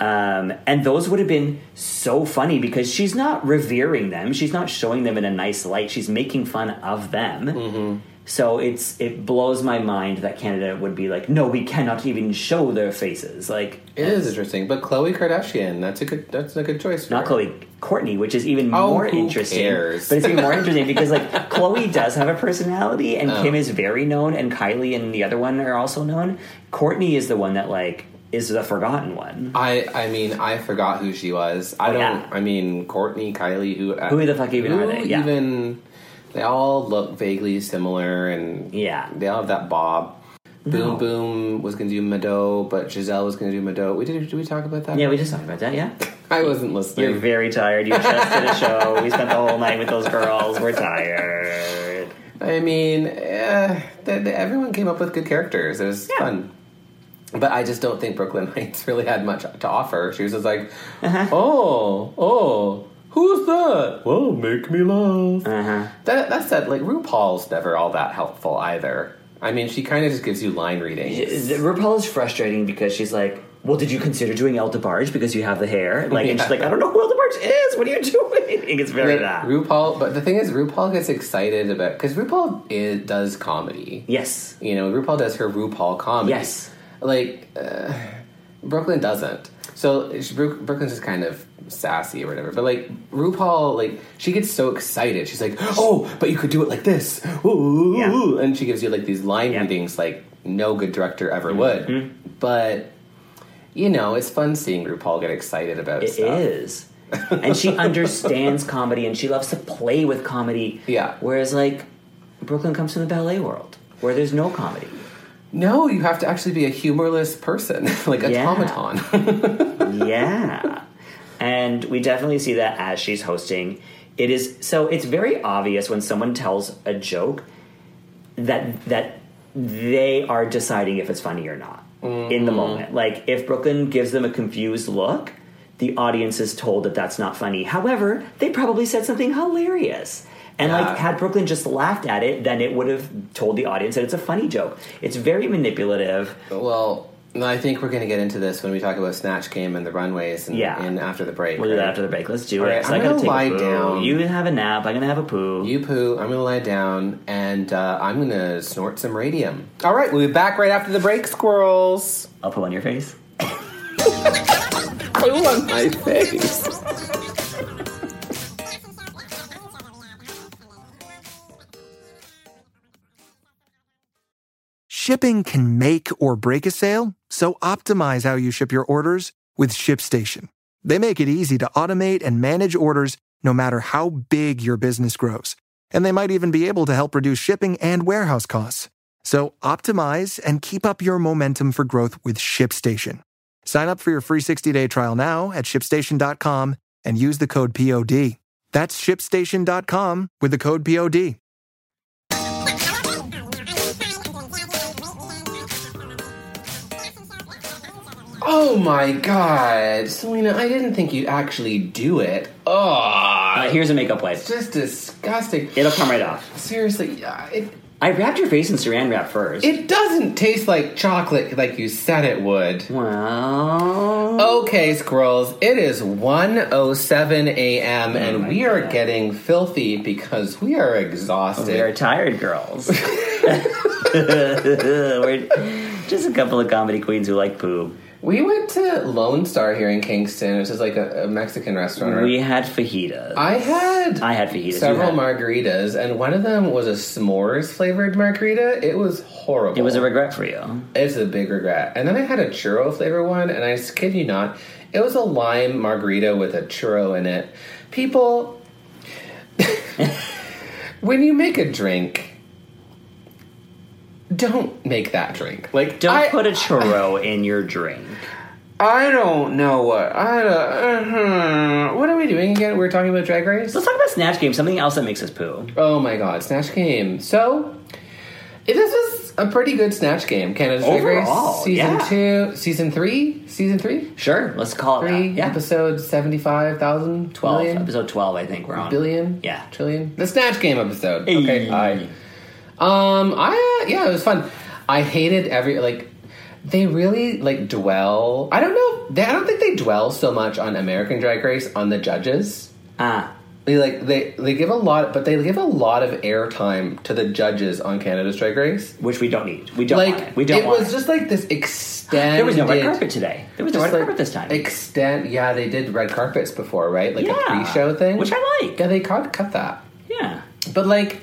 Um, and those would have been so funny because she's not revering them. She's not showing them in a nice light. She's making fun of them. So it's it blows my mind that Canada would be like, no, we cannot even show their faces. Like It is interesting, but Chloe Kardashian, that's a good that's a good choice. For not her. Chloe, Courtney, which is even Oh, more who interesting. cares? But it's even more <laughs> interesting because like Chloe does have a personality, and Kim is very known, and Kylie and the other one are also known. Courtney is the one that like is the forgotten one. I I mean, I forgot who she was. I don't Oh, yeah. I mean, Courtney, Kylie, who uh, Who the fuck even who are they? Yeah. even- they all look vaguely similar and Yeah. They all have that bob. Boom Boom was going to do Mado, but Giselle was going to do Mado. We did. Did we talk about that? Yeah, we just talked about that. Yeah, I wasn't listening. you're very tired. You just did <laughs> a show. We spent the whole night with those girls. We're tired. I mean, eh, th th- everyone came up with good characters. It was fun. But I just don't think Brooklyn <laughs> Heights really had much to offer. She was just like, oh, oh, who's that? Well, Oh, make me laugh. Uh. Uh-huh. That, that said, like, RuPaul's never all that helpful either. I mean, she kind of just gives you line readings. RuPaul is frustrating because she's like, well, did you consider doing El DeBarge because you have the hair? Like, and she's like, I don't know who El DeBarge is. What are you doing? <laughs> It's very that. RuPaul, but the thing is, RuPaul gets excited about because RuPaul is, does comedy. yes. You know, RuPaul does her RuPaul comedy. Yes. Like, uh, Brooklyn doesn't. So it's- Bru- Brooklyn's just kind of sassy or whatever. But like RuPaul, like she gets so excited. She's like, "Oh, but you could do it like this." Ooh, Yeah. and she gives you like these line Yeah. readings like no good director ever Mm-hmm. would. But you know, it's fun seeing RuPaul get excited about It stuff. is. and she understands comedy and she loves to play with comedy. Yeah. Whereas, like, Brooklyn comes from the ballet world where there's no comedy. No, you have to actually be a humorless person, <laughs> like a Yeah. automaton. <laughs> yeah. And we definitely see that as she's hosting. It is so it's very obvious when someone tells a joke that that they are deciding if it's funny or not in the moment. Like if Brooklyn gives them a confused look, the audience is told that that's not funny. However, they probably said something hilarious. And Yeah. like had Brooklyn just laughed at it, then it would have told the audience that it's a funny joke. It's very manipulative. well, I think we're going to get into this when we talk about Snatch Game and the runways and, Yeah. and after the break. We'll do that right? after the break. Let's do All it. right, So I'm I gotta gonna take a lie poo. down. You have a nap. I'm gonna have a poo. You poo. I'm gonna lie down and uh, I'm gonna snort some radium. All right, we'll be back right after the break, squirrels. I'll poo on your face. Poo on my face. Shipping can make or break a sale, so optimize how you ship your orders with ShipStation. They make it easy to automate and manage orders no matter how big your business grows. And they might e- even be able to help reduce shipping and warehouse costs. So optimize and keep up your momentum for growth with ShipStation. Sign up for your free 60-day trial now at shipstation.com and use the code POD. That's shipstation.com with the code POD. Oh my god, Selena! I didn't think you'd actually do it. Uh, Oh, here's a makeup wipe. just disgusting. It'll come right off. Seriously, uh, it I wrapped your face in saran wrap first. it doesn't taste like chocolate like you said it would. well, Okay, squirrels, it is 1.07 a.m. and we are getting filthy because we are exhausted. we are tired, girls. <laughs> We're just a couple of comedy queens who like poo. We went to Lone Star here in Kingston, which is like a, a Mexican restaurant. right? We had fajitas. I had I had fajitas. You several had- margaritas, and one of them was a s'mores flavored margarita. It was horrible. It was a regret for you. It's a big regret. And then I had a churro flavor one, and I s- kid you not, it was a lime margarita with a churro in it. People, <laughs> when you make a drink. Don't make that drink. Like Don't I- put a churro in your drink. I don't know what. I don't, uh, what are we doing again? We're talking about Drag Race. Let's talk about Snatch Game, something else that makes us poo. Oh my God, Snatch Game. So eh, this was a pretty good Snatch Game. Canada's Drag Race Overall, season yeah. two, season three, season three, Sure, let's call it three. that. Yeah. Episode seventy-five thousand 12, million, episode 12, I think we're on. billion, Yeah. trillion. The Snatch Game episode. Hey. Okay, aye. Um, I yeah, it was fun. I hated every like. They really like dwell. I don't know. They, I don't think they dwell so much on American Drag Race on the judges. Ah, They like they they give a lot, but they give a lot of airtime to the judges on Canada's Drag Race. which we don't need. We don't like want it. We don't it want was it. just like this extended. There was no red carpet today. There was no just, red like, carpet this time. Extend. Yeah, they did red carpets before, right? Like Yeah. a pre-show thing, Which I like. Yeah, they cut cut that. yeah. But like,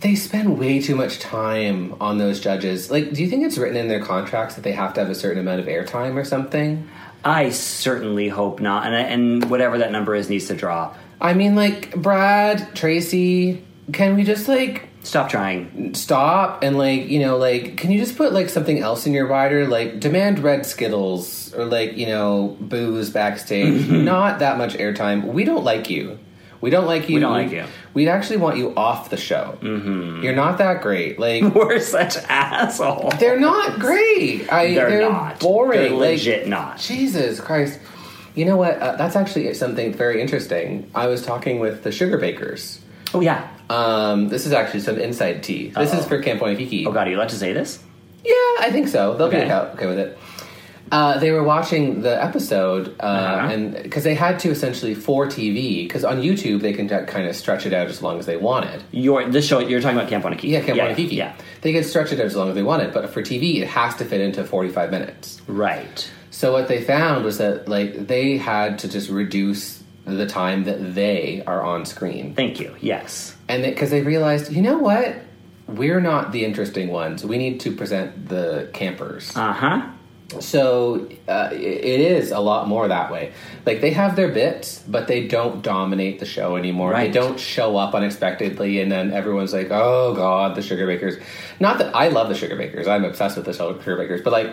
they spend way too much time on those judges. Like, do you think it's written in their contracts that they have to have a certain amount of airtime or something? I certainly hope not. And I, and whatever that number is needs to drop. I mean, like Brad, Tracy, can we just like Stop trying. <laughs> stop and like you know like can you just put like something else in your rider like demand red skittles or like you know booze backstage Mm-hmm. not that much airtime we don't like you we don't like you We don't like you. we'd actually want you off the show mm-hmm. you're not that great <laughs> like We're such assholes. they're not great i They're they're, not. boring They're like, legit not. jesus christ you know what uh, that's actually something very interesting i was talking with the sugar bakers Oh yeah. um, this is actually some inside tea. This is for Camp Waikiki. Oh god, are you allowed to say this? Yeah, I think so. They'll Okay. be okay, okay with it. Uh, they were watching the episode, uh, Uh-huh. and because they had to essentially for TV, because on YouTube they can kind of stretch it out as long as they wanted. Your this show you're talking about Camp Wanakiki. Yeah, Camp yeah, Wanakiki. Yeah, They could stretch it out as long as they wanted, but for TV it has to fit into forty-five minutes. right. So what they found was that like they had to just reduce the time that they are on screen, Thank you. Yes. and because they realized, you know what, we're not the interesting ones. We need to present the campers. Uh huh. So uh, it it is a lot more that way. Like they have their bits, but they don't dominate the show anymore. Right. They don't show up unexpectedly, and then everyone's like, "Oh God, the Sugar Bakers." Not that I love the Sugar Bakers; I'm obsessed with the Sugar Bakers. But like,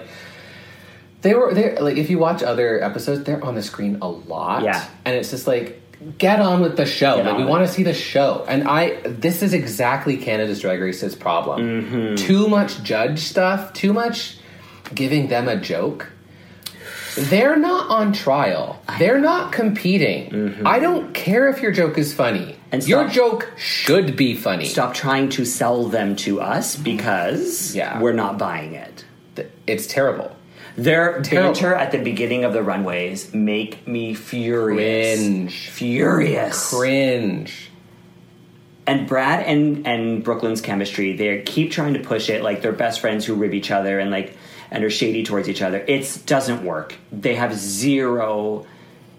they were they like if you watch other episodes, they're on the screen a lot. Yeah. and it's just like. Get on with the show. Get Like, on we with want to see the show, and I. This is exactly Canada's Drag Race's problem. Mm-hmm. Too much judge stuff. Too much giving them a joke. They're not on trial. They're not competing. I don't care if your joke is funny. Mm-hmm. And your stop- joke should be funny. Stop trying to sell them to us because Yeah. we're not buying it. Th- It's terrible. Their Terrible. banter at the beginning of the runways make me furious. Cringe. Furious. Cringe. and Brad and and Brooklyn's chemistry, they keep trying to push it like they're best friends who rib each other and like and are shady towards each other. It doesn't work. They have zero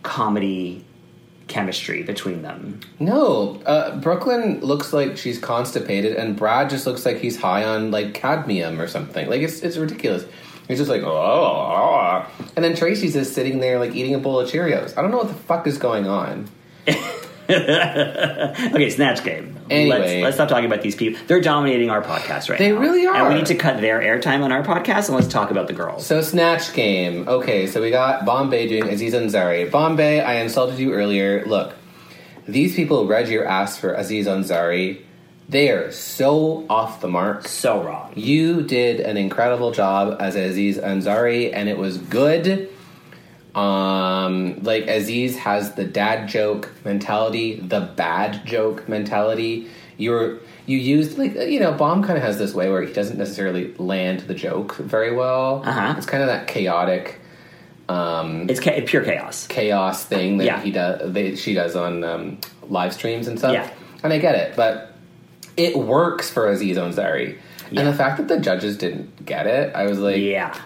comedy chemistry between them. No, uh, Brooklyn looks like she's constipated, and Brad just looks like he's high on like cadmium or something. Like it's it's ridiculous. He's just like oh, oh, oh." and then Tracy's just sitting there like eating a bowl of Cheerios. I don't know what the fuck is going on. Okay, Snatch Game. Anyway. Let's, let's stop talking about these people. They're dominating our podcast right They now. really are. And we need to cut their airtime on our podcast and let's talk about the girls. So snatch game. Okay, so we got Bombay doing Aziz Ansari. Bombay, I insulted you earlier. Look, these people read your ass for Aziz Ansari. They are so off the mark. so wrong. You did an incredible job as Aziz Ansari, and it was good. Um, like Aziz has the dad joke mentality, the bad joke mentality. You're you used like you know, Bomb kind of has this way where he doesn't necessarily land the joke very well. Uh-huh. It's kind of that chaotic It's ca- pure chaos. chaos thing that Yeah. he does, they, she does on um, live streams and stuff. Yeah. And I get it, but it works for Aziz Ansari. And the fact that the judges didn't get it, I was like, Yeah.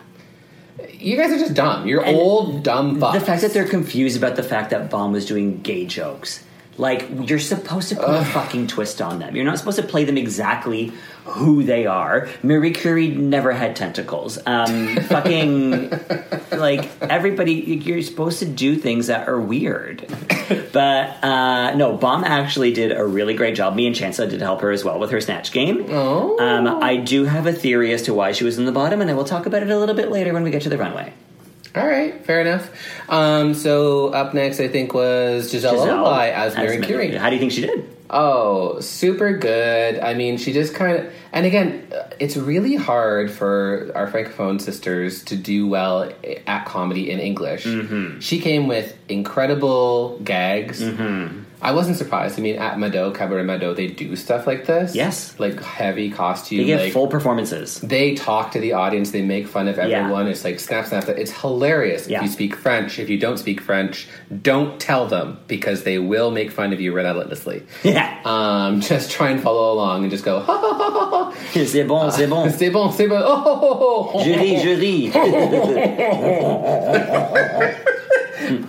you guys are just dumb. You're old, dumb fucks. The fact that they're confused about the fact that Bomb was doing gay jokes. Like, you're supposed to put a fucking twist on them. You're not supposed to play them exactly who they are. Marie Curie never had tentacles. Um, fucking, like, everybody, you're supposed to do things that are weird. But, uh, no, Bomb actually did a really great job. Me and Chancellor did help her as well with her snatch game. Oh. Um, I do have a theory as to why she was in the bottom, and I will talk about it a little bit later when we get to the runway. All right, fair enough. Um, so up next, I think was Giselle, Giselle Bündchen as Mary Curie. How do you think she did? Oh, super good. I mean, she just kind of, and again, uh, it's really hard for our francophone sisters to do well i- at comedy in English. Mm-hmm. She came with incredible gags. Mm-hmm. I wasn't surprised. I mean, at Mado Cabaret Mado, they do stuff like this. Yes. like heavy costume. They gave like, full performances. <laughs> they talk to the audience. They make fun of Yeah. everyone. It's like snap, snap. snap. It's hilarious. Yeah. If you speak French, if you don't speak French, don't tell them because they will make fun of you relentlessly. Yeah. Um, <laughs> just try and follow along and just go. Ha, ha, ha, ha, ha. c'est bon, <laughs> c'est bon. C'est bon, c'est bon. Oh, ho, ho, ho, ho. Je ris, je ris. <laughs>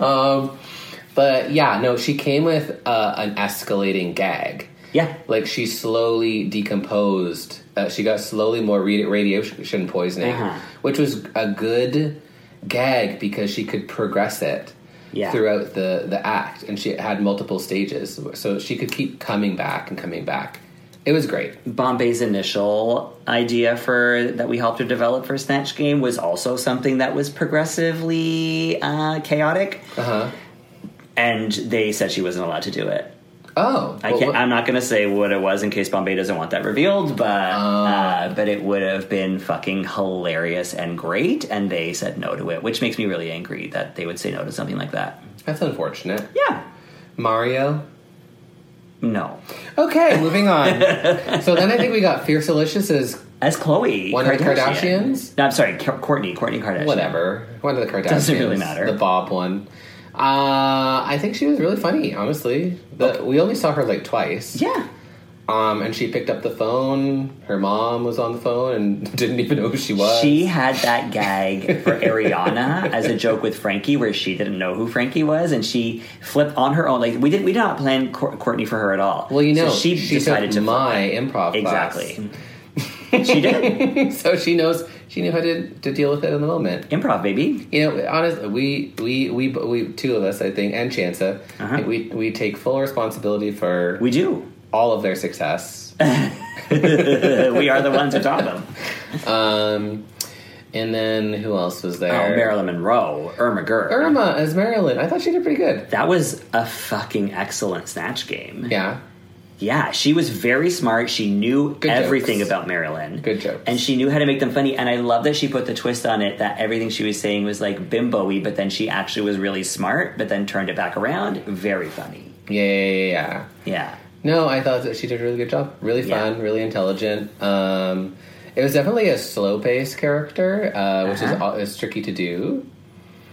But yeah, no, she came with uh, an escalating gag. yeah. Like she slowly decomposed. Uh, she got slowly more radi- radiation poisoning, Uh-huh. which was a good gag because she could progress it Yeah. throughout the, the act. And she had multiple stages. So she could keep coming back and coming back. It was great. Bombay's initial idea for that we helped her develop for Snatch Game was also something that was progressively uh, chaotic. Uh-huh. And they said she wasn't allowed to do it. Oh. I can't, I'm not going to say what it was in case Bombay doesn't want that revealed, but Oh. uh, but it would have been fucking hilarious and great, and they said no to it, which makes me really angry that they would say no to something like that. That's unfortunate. Yeah, Mario, No. <laughs> Okay, moving on. so then I think we got Fierce Delicious as As Chloe. One of the Kardashians? No, I'm sorry, K- Courtney. Courtney Kardashian. whatever. One of the Kardashians. Doesn't really matter. The Bob one. Uh, I think she was really funny, honestly. The, We only saw her like twice. Yeah. Um, and she picked up the phone. Her mom was on the phone and <laughs> didn't even know who she was. She had that gag for Ariana as a joke with Frankie, where she didn't know who Frankie was, and she flipped on her own. Like we did, we did not plan Cour- Courtney for her at all. well, you know, so she, decided to took flip. my improv class. exactly. she <laughs> did so she knows she knew how to, to deal with it in the moment. improv, baby. You know, honestly, we we we we two of us, I think, and Chansa, Uh-huh. we we take full responsibility for We do. <laughs> all of their success. we are the ones who taught them. um, and then who else was Oh, there? Marilyn Monroe, Irma Gerd. Irma as Marilyn. I thought she did pretty good. That was a fucking excellent snatch game. Yeah, Yeah, she was very smart. She knew Good everything jokes. about Marilyn. Good jokes. And she knew how to make them funny. And I love that she put the twist on it that everything she was saying was like bimbo-y, but then she actually was really smart, but then turned it back around. Very funny. yeah, yeah, yeah. yeah. Yeah. No, I thought that she did a really good job. Really Yeah. fun, really intelligent. Um, it was definitely a slow paced character, uh, which Uh-huh. is al- is tricky to do.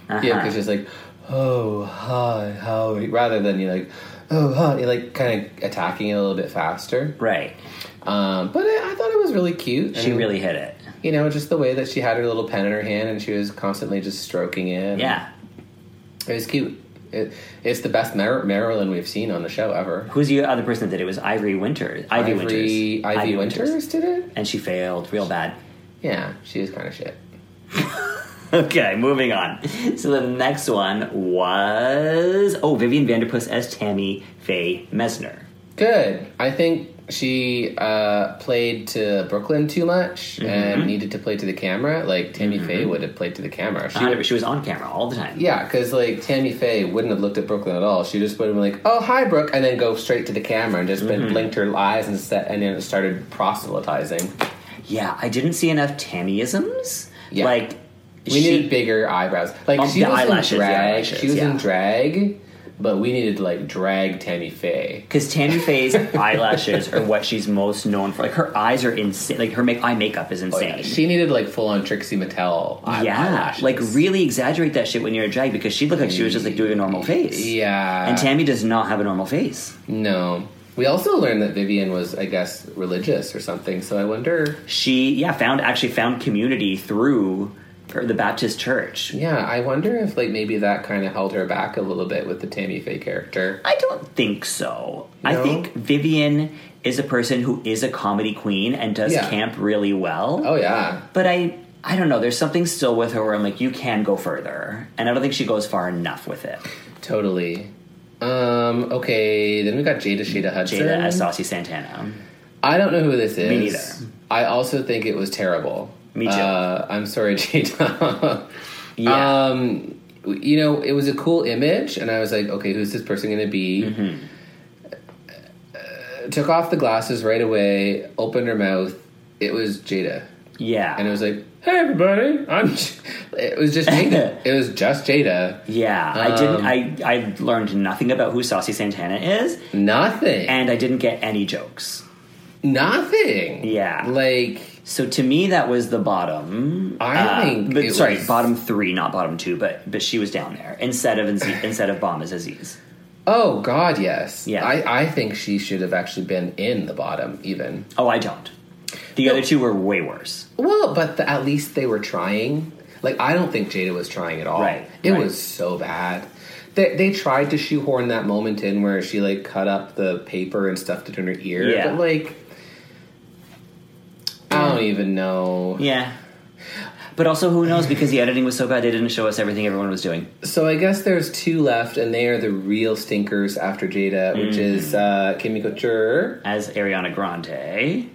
Yeah, because she's like, oh hi, how are you? rather than you like, oh hi, you're like kind of attacking it a little bit faster. Right. Um, but I, I thought it was really cute. She and, really hit it. you know, just the way that she had her little pen in her hand and she was constantly just stroking it. Yeah. it was cute. It, it's the best Mar- Marilyn we've seen on the show ever. Who's the other person that did it? It was Ivory Winters. Ivy Ivory- Winters. Ivy, Winters, did it. And she failed real bad. <laughs> Yeah, she is kind of shit. Okay, moving on. So the next one was oh, Vivian Vanderpuss as Tammy Faye Mesner. Good. I think she uh, played to Brooklyn too much and needed to play to the camera. Like Tammy Faye would have played to the camera. She, She, she was on camera all the time. yeah, because like Tammy Faye wouldn't have looked at Brooklyn at all. She just would have been like, "Oh, hi, Brooke," and then go straight to the camera and just been blinked her eyes and set, and then started proselytizing. Yeah, I didn't see enough Tammyisms. Yeah. Like We she, needed bigger eyebrows. Like Um, she the was eyelashes, the in drag. eyelashes, She was yeah. in drag, but we needed to like drag Tammy Faye. because Tammy <laughs> Faye's eyelashes are what she's most known for. Like her eyes are insane. Like her make eye makeup Oh, is insane. She needed like full on Trixie Mattel. eye- Yeah, eyelashes. like really exaggerate that shit when you're a drag because she looked like she was just like doing a normal face. Yeah. and Tammy does not have a normal face. No. We also learned that Vivian was, I guess, religious or something. So I wonder. She yeah found actually found community through her, the Baptist church. Yeah, I wonder if like maybe that kind of held her back a little bit with the Tammy Faye character. I don't think so. I No? think Vivian is a person who is a comedy queen and does Yeah. camp really well. Oh yeah, But I I don't know, there's something still with her where I'm like, you can go further. And I don't think she goes far enough with it. totally. Um, okay, then we got Jada Shada Hudson. Jada as Saucy Santana. I don't know who this is. neither. I also think it was terrible. Me too. Uh, I'm sorry, <laughs> Jada. Yeah. Um, you know, it was a cool image, and I was like, okay, who's this person going to be? Mm-hmm. Uh, took off the glasses right away, opened her mouth. It was Jada, yeah. and it was like, hey everybody, I'm. J-" <laughs> It was <laughs> just Jada. it was just Jada. yeah. I Um, didn't I I learned nothing about who Saucy Santana is, Nothing. and I didn't get any jokes. Nothing. Yeah. Like So to me that was the bottom. I think Uh, but it sorry, was- bottom three, not bottom two, but but she was down there instead of <sighs> Aziz, instead of Bomb as Aziz. Oh God, yes. Yeah. I, I think she should have actually been in the bottom even. Oh, I don't. The other two were way worse. Well, but the, at least they were trying. Like I don't think Jada was trying at all. Right, It right. was so bad. They, they tried to shoehorn that moment in where she like cut up the paper and stuffed it in her ear. Yeah. But like I don't even know. Yeah. But also, who knows? Because <sighs> the editing was so bad, they didn't show us everything everyone was doing. So I guess there's two left, and they are the real stinkers after Jada, which is uh, Kimmy Couture. As Ariana Grande,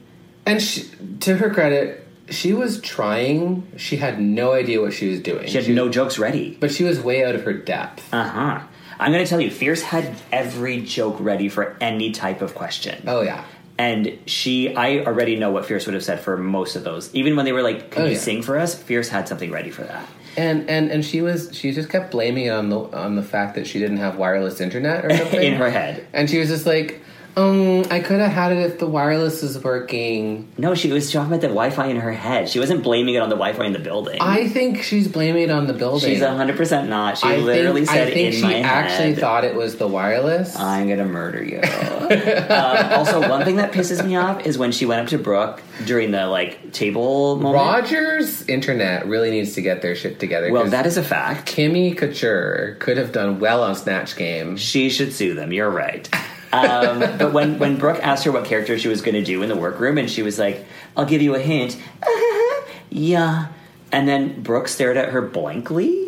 And she, to her credit, she was trying. She had no idea what she was doing. she had no jokes ready. but she was way out of her depth. Uh huh. I'm going to tell you, Fierce had every joke ready for any type of question. oh yeah, And she, I already know what Fierce would have said for most of those. Even when they were like, "Can Oh, you yeah. sing for us?" Fierce had something ready for that. and and and she was she just kept <laughs> blaming it on the on the fact that she didn't have wireless internet or something In her head. and she was just like. Um, I could have had it if the wireless is working. No, she was talking about the Wi-Fi in her head. She wasn't blaming it on the Wi-Fi in the building. I think she's blaming it on the building. She's hundred percent not. She I think- literally said I think in she my actually head, thought it was the wireless. I'm gonna murder <laughs> you. um, also, one thing that pisses me off is when she went up to Brooke during the like table moment. Rogers Internet really needs to get their shit together. Well, 'cause that is a fact. Kimmy Couture could have done well on Snatch Game. She should sue them. You're right. Um, but when when Brooke asked her what character she was gonna do in the workroom, and she was like, "I'll give you a hint." <laughs> yeah. And then Brooke stared at her blankly.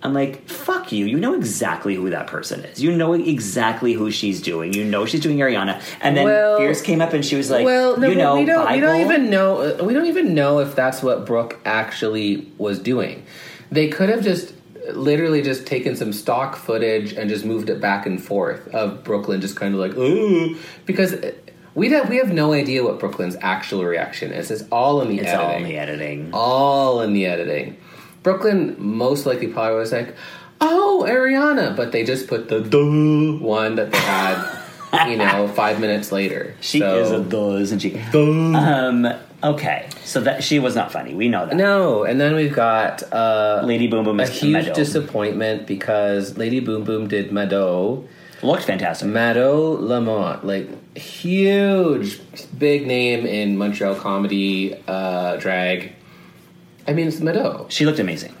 I'm like, fuck you. You know exactly who that person is. You know exactly who she's doing. You know she's doing Ariana. And then Well- Fierce came up and she was like, well, no, you but know, we don't. We don't Bible." even know. We don't even know if that's what Brooke actually was doing. They could have just literally just taken some stock footage and just moved it back and forth of Brooklyn, just kind of like ooh, because we have we have no idea what Brooklyn's actual reaction is. It's all in the It's editing. all in the editing. all in the editing. Brooklyn most likely probably was like, "Oh, Ariana," but they just put the duh one that they <laughs> had, you know, five minutes later. She So- is a duh, isn't she? Um, okay, so that she was not funny. We know that. No, and then we've got uh, Lady Boom Boom a is huge Meadow. disappointment because Lady Boom Boom did Mado, Looked fantastic. Mado Lamont, like huge, big name in Montreal comedy uh, drag. I mean, it's Mado. She looked amazing,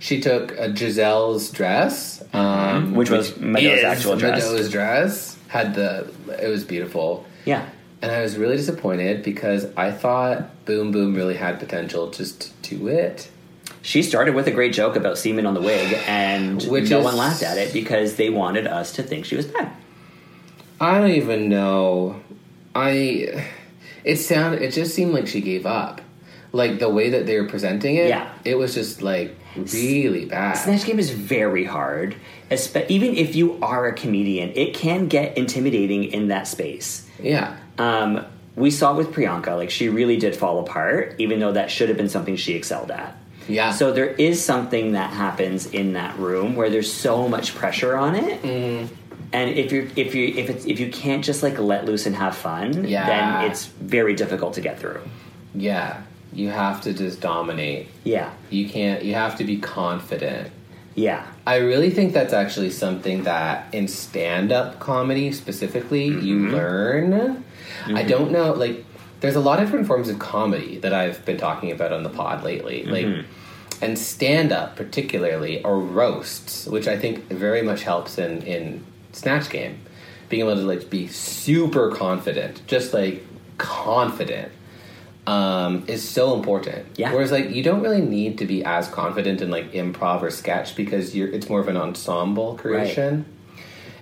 She took uh, Giselle's dress, um, which was Meadow's is actual dress. Meado's dress had the. It was beautiful. yeah, And I was really disappointed because I thought Boom Boom really had potential just to do it. she started with a great joke about semen on the wig, and Which no is- one laughed at it because they wanted us to think she was bad. I don't even know. I it sound it just seemed like she gave up. Like the way that they were presenting it, Yeah. it was just like really bad. Snatch Game is very hard, espe- even if you are a comedian. It can get intimidating in that space. yeah. Um, we saw with Priyanka, like she really did fall apart, even though that should have been something she excelled at. Yeah. So there is something that happens in that room where there's so much pressure on it. Mm-hmm. And if you're if you if it's if you can't just like let loose and have fun, Yeah. then it's very difficult to get through. Yeah. You have to just dominate. Yeah. You can't you have to be confident. Yeah. I really think that's actually something that in stand up comedy specifically you learn. I don't know, like, there's a lot of different forms of comedy that I've been talking about on the pod lately. Like, and stand up, particularly, or roasts, which I think very much helps in, in Snatch Game. Being able to, like, be super confident, just like confident. Um, is so important. Yeah. Whereas like you don't really need to be as confident in like improv or sketch because you're it's more of an ensemble creation.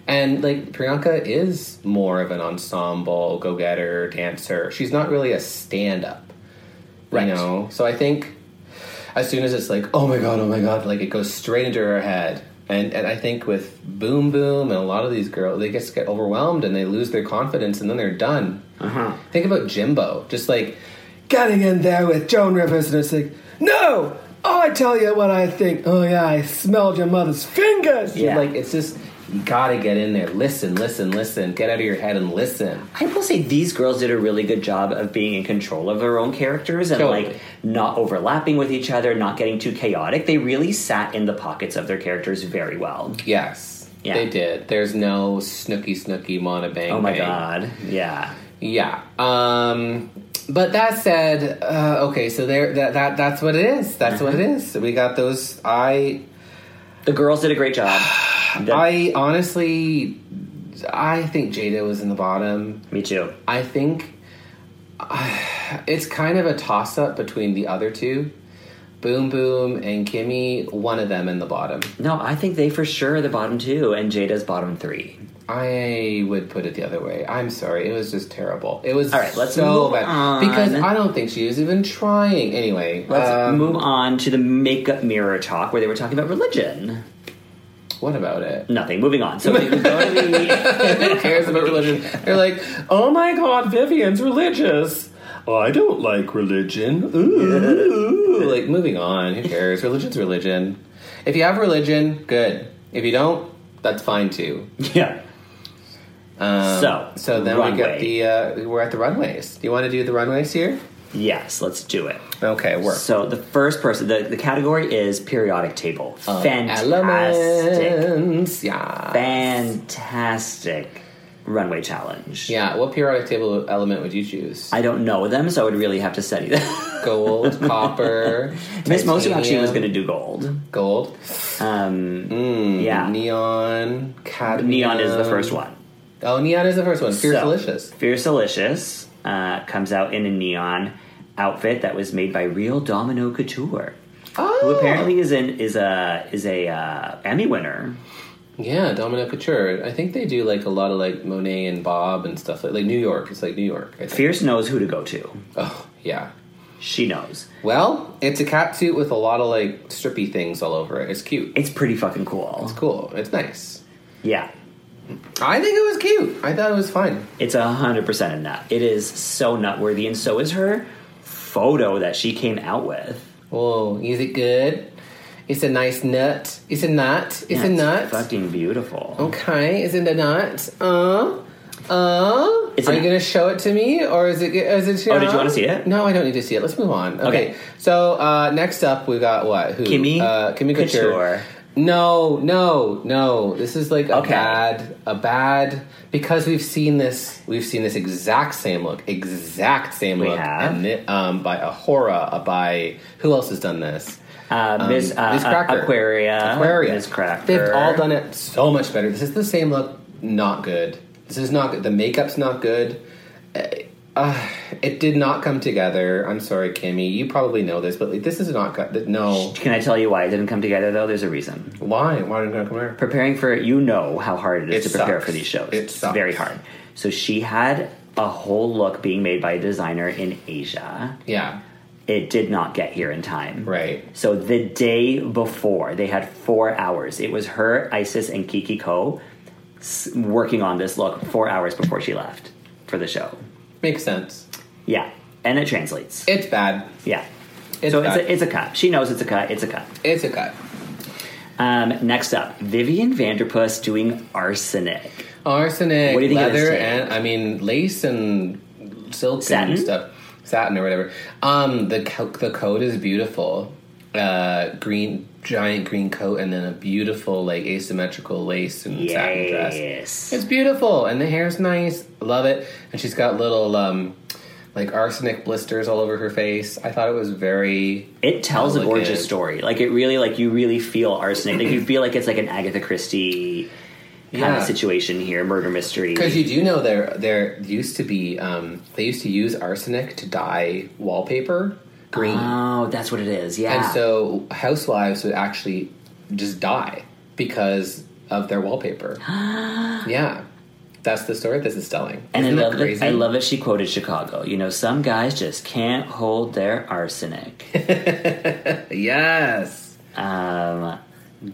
And like Priyanka is more of an ensemble go getter dancer. She's not really a stand up. Right. You know? So I think as soon as it's like, oh my god, oh my god, like it goes straight into her head. And and I think with Boom Boom and a lot of these girls, they just get overwhelmed and they lose their confidence and then they're done. Uh-huh. Think about Jimbo, just like getting in there with Joan Rivers, and it's like, no, oh, I tell you what I think. Oh yeah, I smelled your mother's fingers. Yeah. Like it's just you gotta get in there, listen, listen, listen, get out of your head and listen. I will say these girls did a really good job of being in control of their own characters and Totally. like not overlapping with each other, not getting too chaotic. They really sat in the pockets of their characters very well. Yes. Yeah. They did. There's no snooky snooky mona bang. Oh my bang. god. Yeah. Yeah. Um, but that said, uh, okay, so there that, that that's what it is. That's what it Mm-hmm. is. We got those. I The girls did a <sighs> great job. The- I honestly, I think Jada was in the bottom. me too. I think <sighs> uh, it's kind of a toss up between the other two. Boom Boom and Kimmy, one of them in the bottom. No, I think they for sure are the bottom two, and Jada's bottom three. I would put it the other way. I'm sorry. It was just terrible. It was All right, let's so move bad. on. Because I don't think she was even trying. Anyway, Let's um, move on to the makeup mirror talk where they were talking about religion. What about it? Nothing. Moving on. So we go <laughs> to the. <laughs> Who cares about religion? They're like, oh my god, Vivian's religious. "Oh, I don't like religion. Ooh. like, moving on. Who cares? Religion's religion. If you have religion, good. If you don't, that's fine too. yeah. Um, So, so then we get runway. the uh, we're at the runways. Do you want to do the runways here? Yes, let's do it. Okay, work. So the first person, the, the category is periodic table. Fantastic. Uh, Elements, yeah, Fantastic runway challenge. yeah. What periodic table element would you choose? I don't know them, so I would really have to study them. <laughs> Gold, copper. Miss Mosu actually titanium, Mm-hmm. was going to do gold. gold, Um, yeah. neon, cadmium. Neon is the first one. Oh, neon is the first one. Fear So, delicious. Fierce Delicious uh, comes out in a neon outfit that was made by real Domino Couture, who Oh, apparently is an is a is a uh, Emmy winner. yeah, Domino Couture. I think they do like a lot of like Monet and Bob and stuff like, like New York. It's like New York. I think. Fierce knows who to go to. Oh, yeah. She knows. Well, it's a cat suit with a lot of like strippy things all over it. It's cute. It's pretty fucking cool. It's cool. It's nice. Yeah. I think it was cute. I thought it was fun. It's a hundred percent a nut. It is so nutworthy, and so is her photo that she came out with. Whoa, Oh, is it good? It's a nice nut. It's a nut. It's a nut. Fucking Oh beautiful. Okay, is it a nut? Uh, uh. It's Are a you nut. gonna show it to me, or is it? Is it? Oh, did you wanna see it? No, I don't need to see it. Let's move on. Okay. Okay. So uh, next up, we got what? Who? Kimmy Uh, Kimmy Couture. Couture. No, no, no. This is like a Okay. bad, a bad because we've seen this. We've seen this exact same look, exact same We look, have. and it, um, by Ahura, uh, by who else has done this? Uh, Miss, uh, Um, Miss Cracker. Aquaria. Aquaria. Miss Cracker. They've all done it so much better. This is the same look, not good. This is not good. The makeup's not good. Uh, uh, it did not come together. I'm sorry, Kimmy. You probably know this, but like, this is not good. No. Can I tell you why it didn't come together though? There's a reason. Why? Why didn't it come here? preparing for you know how hard it is It to prepare sucks. for these shows. It it's sucks. very hard. So she had a whole look being made by a designer in Asia. Yeah. It did not get here in time. Right. So the day before, they had four hours. It was her, Isis, and Kiki Ko s- working on this look four hours before she left for the show. Makes sense. Yeah, and it translates. It's bad. yeah. It's so cut. it's a, it's a cut. She knows it's a cut. It's a cut. It's a cut. Um, next up, Vivian Vanderpuss doing arsenic. Arsenic, What do you think of this leather, tape? and I mean lace and silk Satin? and stuff, satin or whatever. Um, the co- the coat is beautiful. Uh, green giant green coat and then a beautiful like asymmetrical lace and satin dress. Yes. It's beautiful and the hair's nice. Love it. And she's got little um like arsenic blisters all over her face. I thought it was very It tells a Elegant. gorgeous story. Like it really, like you really feel <clears throat> arsenic. Like you feel like it's like an Agatha Christie kind Yeah. of situation here, murder mystery. Because you do know there there used to be um, they used to use arsenic to dye wallpaper green, oh, that's what it is. Yeah. and so housewives would actually just die because of their <gasps> wallpaper. yeah, that's the story this is telling. And I Isn't love that that. crazy? I love that she quoted Chicago. You know, some guys just can't hold their arsenic. Yes, um,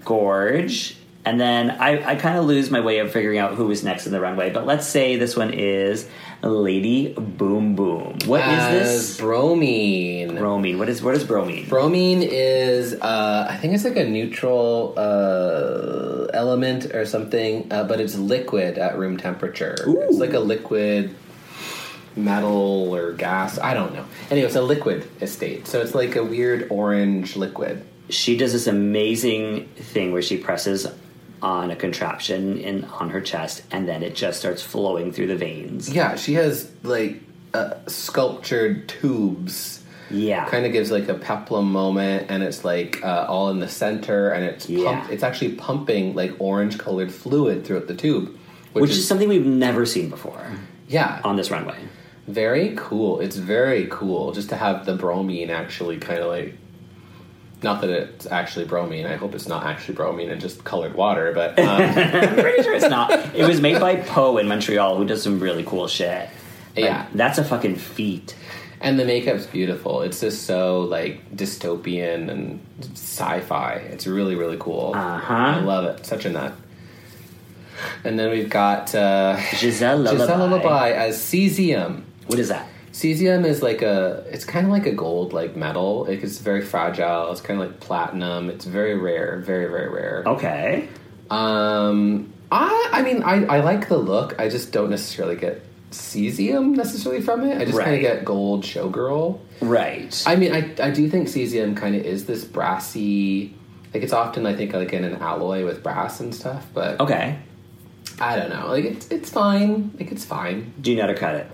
Gorge. And then I, I kind of lose my way of figuring out who was next in the runway, but let's say this one is Lady Boom Boom. What is As this? bromine. Bromine. What is what is bromine? Bromine is, uh, I think it's like a neutral uh, element or something, uh, but it's liquid at room temperature. It's like a liquid metal or gas. I don't know. Anyway, it's a liquid estate. So it's like a weird orange liquid. she does this amazing thing where she presses on a contraption in on her chest and then it just starts flowing through the veins. Yeah, she has like uh, sculptured tubes. Yeah. Kind of gives like a peplum moment, and it's like uh, all in the center, and it's Yeah. pump- it's actually pumping like orange colored fluid throughout the tube, Which is something we've never seen before yeah on this runway. Very cool. It's very cool just to have the bromine actually kind of like. Not that it's actually bromine. I hope it's not actually bromine and just colored water, but um, I'm pretty sure it's not. It was made by Poe in Montreal who does some really cool shit. Like, yeah. That's a fucking feat. And the makeup's beautiful. It's just so like dystopian and sci-fi. It's really really cool. Uh-huh. I love it. Such a nut. And then we've got uh, Giselle Lullaby. Giselle Lullaby as cesium. What is that? Cesium is like a, it's kind of like a gold like metal. Like, It's very fragile. Oh. It's kind of like platinum. It's very rare, very very rare. Okay. Um, I I, I mean, I, I like the look. I just don't necessarily get cesium necessarily from it. I just kind Right. of get gold showgirl. Right. I mean, I, I do think cesium kind of is this brassy. Like it's often I think like in an alloy with brass and stuff, but okay. I don't know. Like it's it's fine. Like it's fine. Do you know how to cut it?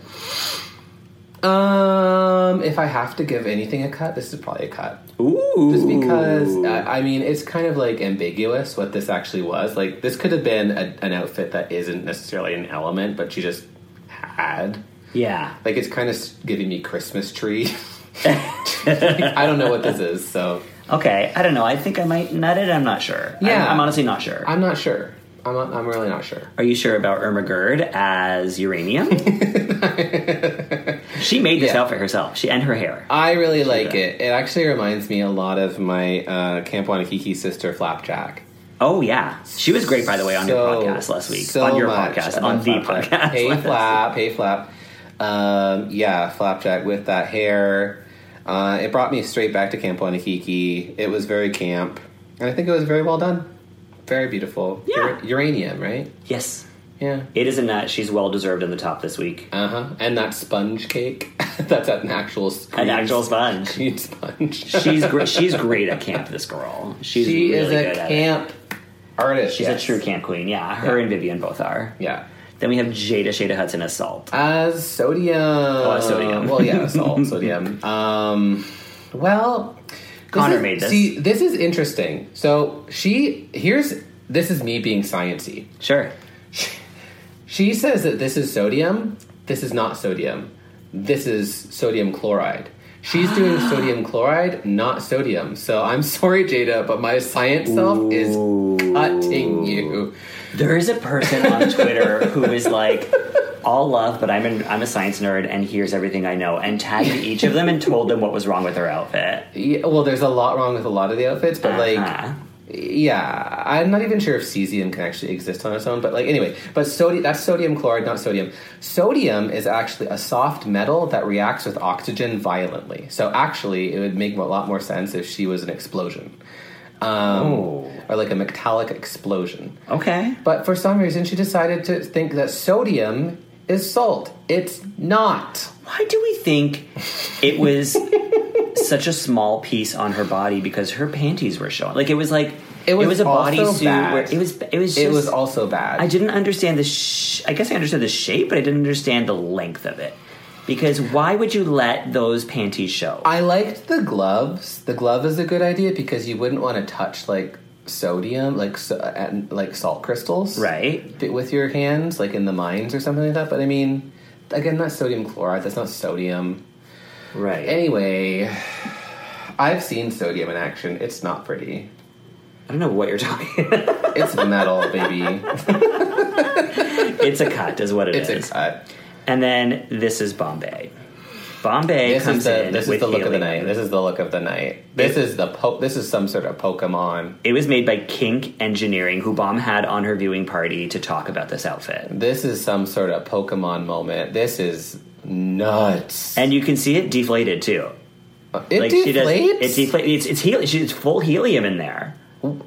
Um, if I have to give anything a cut, this is probably a cut. Ooh. Just because uh, I mean, it's kind of like ambiguous what this actually was. Like this could have been a, an outfit that isn't necessarily an element, but she just had. Yeah. Like it's kind of s- giving me Christmas tree. <laughs> Like, I don't know what this is, so Okay. I don't know. I think I might nut it. I'm not sure. I'm- Yeah. I'm, honestly not sure. I'm not sure. I'm not, I'm really not sure. Are you sure about Irma Gerd as <laughs> uranium? she made this Yeah. outfit herself. She and her hair. I really like it. It actually reminds me a lot of my uh, Camp Wanakiki sister Flapjack. Oh yeah, she was great by the way on your So- podcast last week. so on your much. I podcast, love on the Flapjack. podcast. Hey flap, hey flap. Um, yeah, flapjack with that hair. Uh, it brought me straight back to Camp Wanakiki. It was very camp, and I think it was very well done. Very beautiful. Yeah. Ur- uranium, right? Yes, Yeah. it is a nut. She's well deserved in the top this week. Uh huh. And that sponge cake. <laughs> That's an actual An screen- <laughs> actual sponge. screen sponge. She's gr- she's great at camp. This girl. She's she really is good a at it. camp artist. She's yes. a true camp queen. Yeah, her and Vivian both are. Yeah. Uh, Then we have Jada Shada Hudson as Salt. As sodium. Oh, as sodium. Well, <laughs> yeah, salt, sodium. Um, well, this Connor is- made this. See, this is interesting. So she here's this is me being sciency. Sure. She says that this is sodium. This is not sodium. This is sodium chloride. She's <gasps> doing sodium chloride, not sodium. So I'm sorry, Jada, but my science self is cutting you. There is a person <laughs> on Twitter who is like, all love, but I'm an, I'm a science nerd, and here's everything I know, and tagged each of them and told them what was wrong with their outfit. Yeah, well, there's a lot wrong with a lot of the outfits, but Uh-huh. like, yeah, I'm not even sure if cesium can actually exist on its own. But like, anyway, but sodium that's sodium chloride, not sodium. Sodium is actually a soft metal that reacts with oxygen violently. So actually, it would make a lot more sense if she was an explosion, um, Oh. or like a metallic explosion. Okay. But for some reason, she decided to think that sodium is salt. It's not. Why do we think <laughs> it was such a small piece on her body because her panties were showing? Like it was like It was a also bodysuit bad. where it was it was just, it was also bad. I didn't understand the. Sh- I guess I understood the shape, but I didn't understand the length of it. Because why would you let those panties show? I liked the gloves. The glove is a good idea because you wouldn't want to touch like sodium, like so, uh, and like salt crystals, right? Bit with your hands, like in the mines or something like that. But I mean, again, that's sodium chloride. That's not sodium. Right. Anyway, I've seen sodium in action. It's not pretty. I don't know what you're talking. <laughs> about. It's metal, <laughs> baby. it's a cut, is what It's it's a cut. And then this is Bombay. Bombay This comes is the in this with is the look of the helium. night. This is the look of the night. This is the po- this is some sort of Pokemon. It was made by Kink Engineering, who Bomb had on her viewing party to talk about this outfit. This is some sort of Pokemon moment. This is nuts. And you can see it deflated too. It It's deflates. deflated. It's it's helium. She's full helium in there.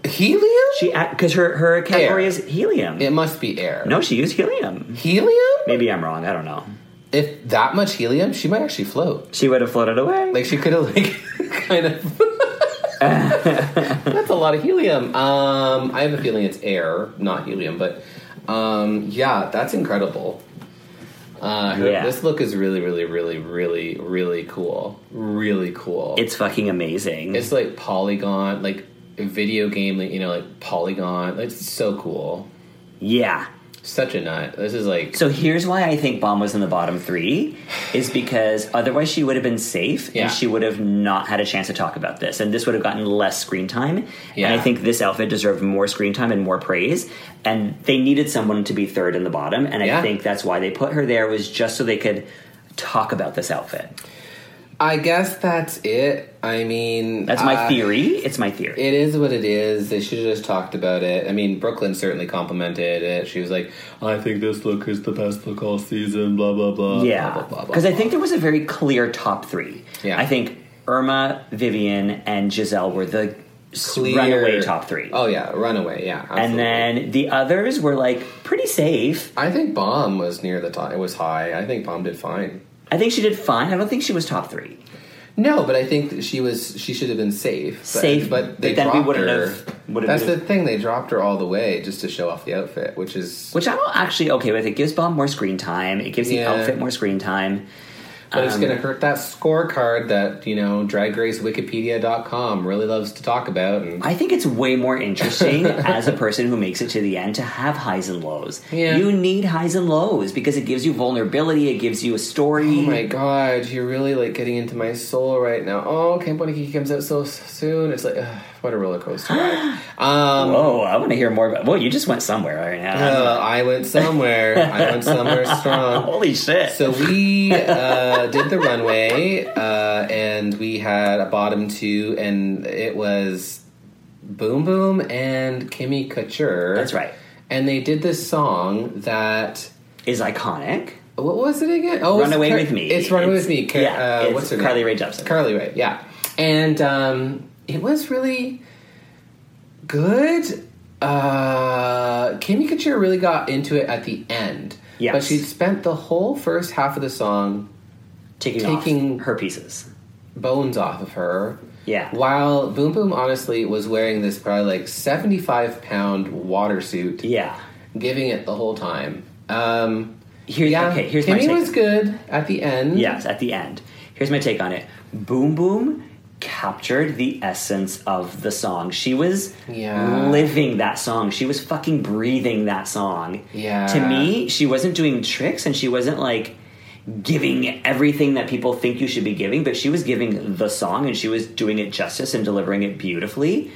helium. She because her her category Air. is helium. it must be air. No, she used helium. helium. Maybe I'm wrong. I don't know. If that much helium, she might actually float. She would have floated away. Like she could have like <laughs> kind of. <laughs> That's a lot of helium. Um, I have a feeling it's air, not helium, but um, yeah, that's incredible. Uh, her- Yeah. This look is really, really, really, really, really cool. Really cool. it's fucking amazing. It's like polygon, like video game, like, you know, like polygon. It's so cool. yeah. Such a nut. This is like So here's why I think Bomb was in the bottom three, is because otherwise she would have been safe Yeah. and she would have not had a chance to talk about this, and this would have gotten less screen time. Yeah. And I think this outfit deserved more screen time and more praise. And they needed someone to be third in the bottom, and I Yeah. think that's why they put her there was just so they could talk about this outfit. I guess that's it. I mean, That's my uh, theory. It's my theory. It is what it is. They should have just talked about it. I mean, Brooklyn certainly complimented it. She was like, "I think this look is the best look all season." Blah blah blah. Yeah, blah, blah, blah, blah, because I blah. think there was a very clear top three. Yeah. I think Irma, Vivian, and Giselle were the clear runaway top three. Oh yeah, runaway. Yeah, absolutely. and then the others were like pretty safe. I think bomb was near the top. It was high. I think bomb did fine. I think she did fine. I don't think she was top three. No, but I think that she was. She should have been safe. But, Safe, but they but then we dropped wouldn't her. have- wouldn't That's have- the thing. They dropped her all the way just to show off the outfit, which is. Which I'm actually okay with. It gives Bob more screen time. It gives Yeah. the outfit more screen time. But it's Um, going to hurt that scorecard that you know Drag Race Wikipedia.com really loves to talk about. And I think it's way more <laughs> interesting as a person who makes it to the end to have highs and lows. Yeah. You need highs and lows because it gives you vulnerability. It gives you a story. oh my god, you're really like getting into my soul right now. Oh, Camp Wanakee comes out so soon. It's like ugh, what a roller coaster. <gasps> ride. um, Whoa, Oh, I want to hear more about. Whoa, you just went somewhere right now. uh, I went somewhere. I went somewhere strong. Holy shit! So we uh, did the runway, uh, and we had a bottom two, and it was Boom Boom and Kimmy Couture. That's right. And they did this song that. is iconic. What was it again? Oh, it's Runaway with Me. It's Runaway It's- with Me. Car- yeah, uh, it's what's her Carly name? Rae Jepsen. Carly Rae, yeah. And um, it was really good. Uh, Kimmy Couture really got into it at the end. Yes. But she spent the whole first half of the song Taking, Taking- off her pieces. bones off of her. Yeah. While Boom Boom honestly was wearing this probably like 75 pound water suit, Yeah. giving it the whole time. Um, Here, yeah, okay, here's my Kimmy take. was good at the end. Yes, at the end. Here's my take on it. Boom Boom captured the essence of the song. She was Yeah. living that song. She was fucking breathing that song. Yeah. To me, she wasn't doing tricks and she wasn't like giving everything that people think you should be giving, but she was giving the song and she was doing it justice and delivering it beautifully.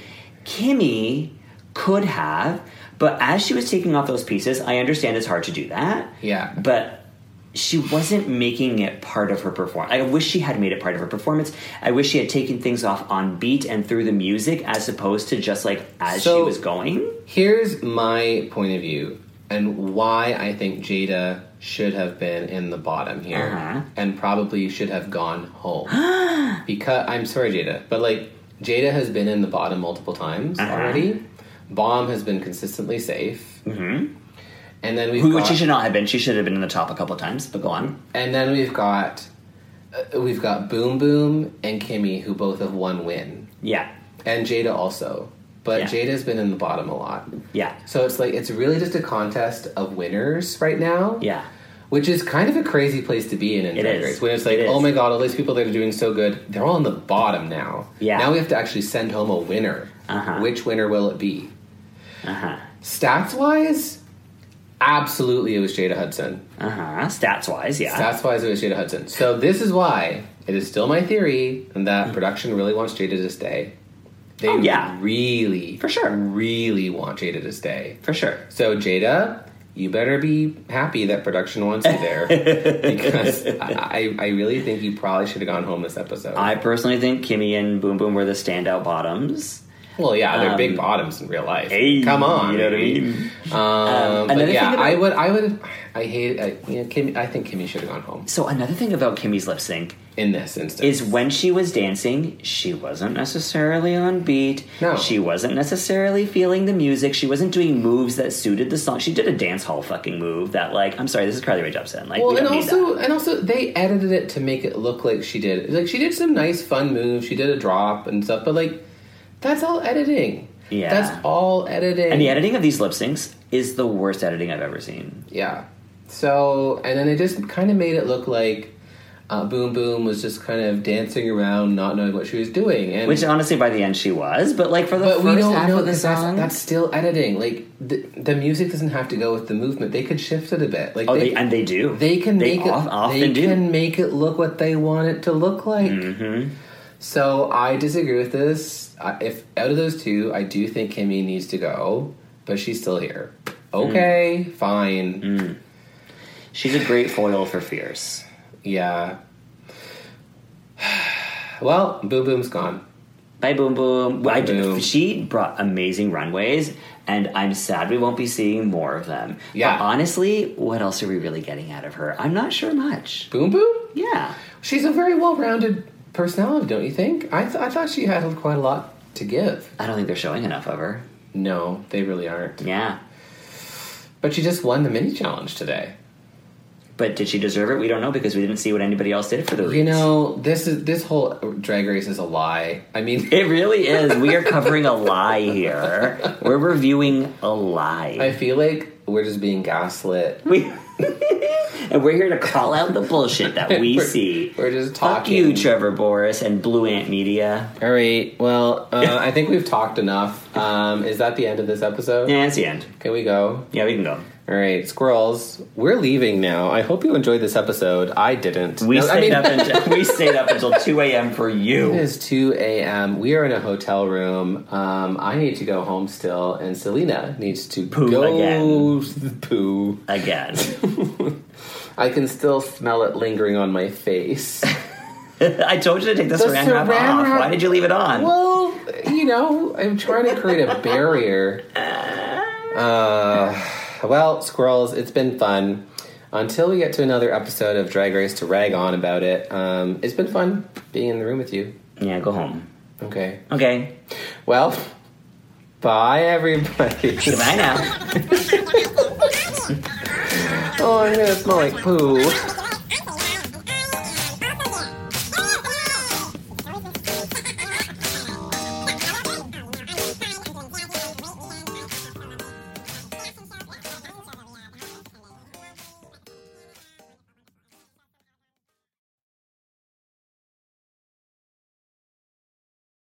Kimmy could have, but as she was taking off those pieces, I understand it's hard to do that. Yeah. But she wasn't making it part of her performance. I wish she had made it part of her performance. I wish she had taken things off on beat and through the music as opposed to just like as she So- was going. Here's my point of view and why I think Jada should have been in the bottom here Uh-huh. and probably should have gone <gasps> home. because I'm sorry, Jada, but like Jada has been in the bottom multiple times Uh-huh. already. Bomb has been consistently safe. Mm-hmm. And then we've Which got, she should not have been. She should have been in the top a couple of times, but go on. and then we've got uh, we've got Boom Boom and Kimmy who both have one win, Yeah. and Jada also. But Yeah. Jada's been in the bottom a lot. Yeah. So it's like it's really just a contest of winners right now. Yeah. Which is kind of a crazy place to be in in It Drag is. Race. When it's like, It is. oh my god, all these people that are doing so good, they're all on the bottom now. Yeah. Now we have to actually send home a winner. Uh-huh. Which winner will it be? Uh huh. Stats wise, absolutely it was Jada Hudson. Uh huh. Stats wise, yeah. Stats wise, it was Jada Hudson. So this is why it is still my theory that production really wants Jada to stay. They Mm-hmm. Oh, yeah. really, For sure. really want Jada to stay. For sure. So Jada, you better be happy that production wants you <laughs> there because I, I really think you probably should have gone home this episode. I personally think Kimmy and Boom Boom were the standout bottoms. well, yeah, they're um, big bottoms in real life. Hey, Come on, you know what I baby. mean? Um, but another yeah, thing about- I would, I would, I hate, I, you know, Kimmy, I think Kimmy should have gone home So another thing about Kimmy's lip sync in this instance. is when she was dancing, she wasn't necessarily on beat. No. She wasn't necessarily feeling the music. She wasn't doing moves that suited the song. She did a dance hall fucking move that like I'm sorry, this is Carly Rae Jepsen. Like well, we and don't need also, that. and also, they edited it to make it look like she did. Like she did some nice, fun moves. She did a drop and stuff, but like, that's all editing. Yeah. that's all editing. And the editing of these lip syncs is the worst editing I've ever seen. Yeah. So, and then it just kind of made it look like uh, Boom Boom was just kind of dancing around, not knowing what she was doing. And Which honestly by the end she was, but like for the but first we don't half know of the 'cause that's, song. that's still editing. Like the, the music doesn't have to go with the movement; they could shift it a bit. Like Oh, they, and they do. they can make of- it often they do. can make it look what they want it to look like. Mm-hmm. So I disagree with this. I, if out of those two, I do think Kimmy needs to go, but she's still here. Hmm. Okay, fine. She's a great foil for Fierce. Yeah. <sighs> Well, Boom Boom's gone. Bye, Boom Boom. Well, I do- Boom. She brought amazing runways, and I'm sad we won't be seeing more of them. Yeah. But honestly, what else are we really getting out of her? I'm not sure much. Boom Boom? Yeah. She's a very well rounded personality, don't you think? I, th- I thought she had quite a lot to give. I don't think they're showing enough of her. No, they really aren't. Yeah. But she just won the mini challenge today. But did she deserve it? We don't know because we didn't see what anybody else did for the reads. You know, this is this whole drag race is a lie. I mean, <laughs> It really is. We are covering a lie here. We're reviewing a lie. I feel like we're just being gaslit. we <laughs> and we're here to call out the bullshit that we We're- see. we're just Fuck talking. you, Trevor Boris and Blue Ant Media. All right. Well, uh, I think we've talked enough. Um, is that the end of this episode? Yeah, that's the end. Can we go? Yeah, we can go. All right, squirrels. We're leaving now. I hope you enjoyed this episode. I didn't. We No, stayed I mean, <laughs> up until we stayed up until two a.m. for It you. is 2 a.m. We are in a hotel room. Um, I need to go home still, and Selena needs to Poo go again. <laughs> poo. Again, <laughs> I can still smell it lingering on my face. I told you to take the, The saran saran wrap off. wrap- Why did you leave it on? well, you know, I'm trying to create a barrier. Uh, well, squirrels, it's been fun. Until we get to another episode of Drag Race to rag on about it, um, it's been fun being in the room with you. Yeah, go home. Okay. Okay, Well, <laughs> bye everybody. goodbye now. oh, I'm gonna smell like poo.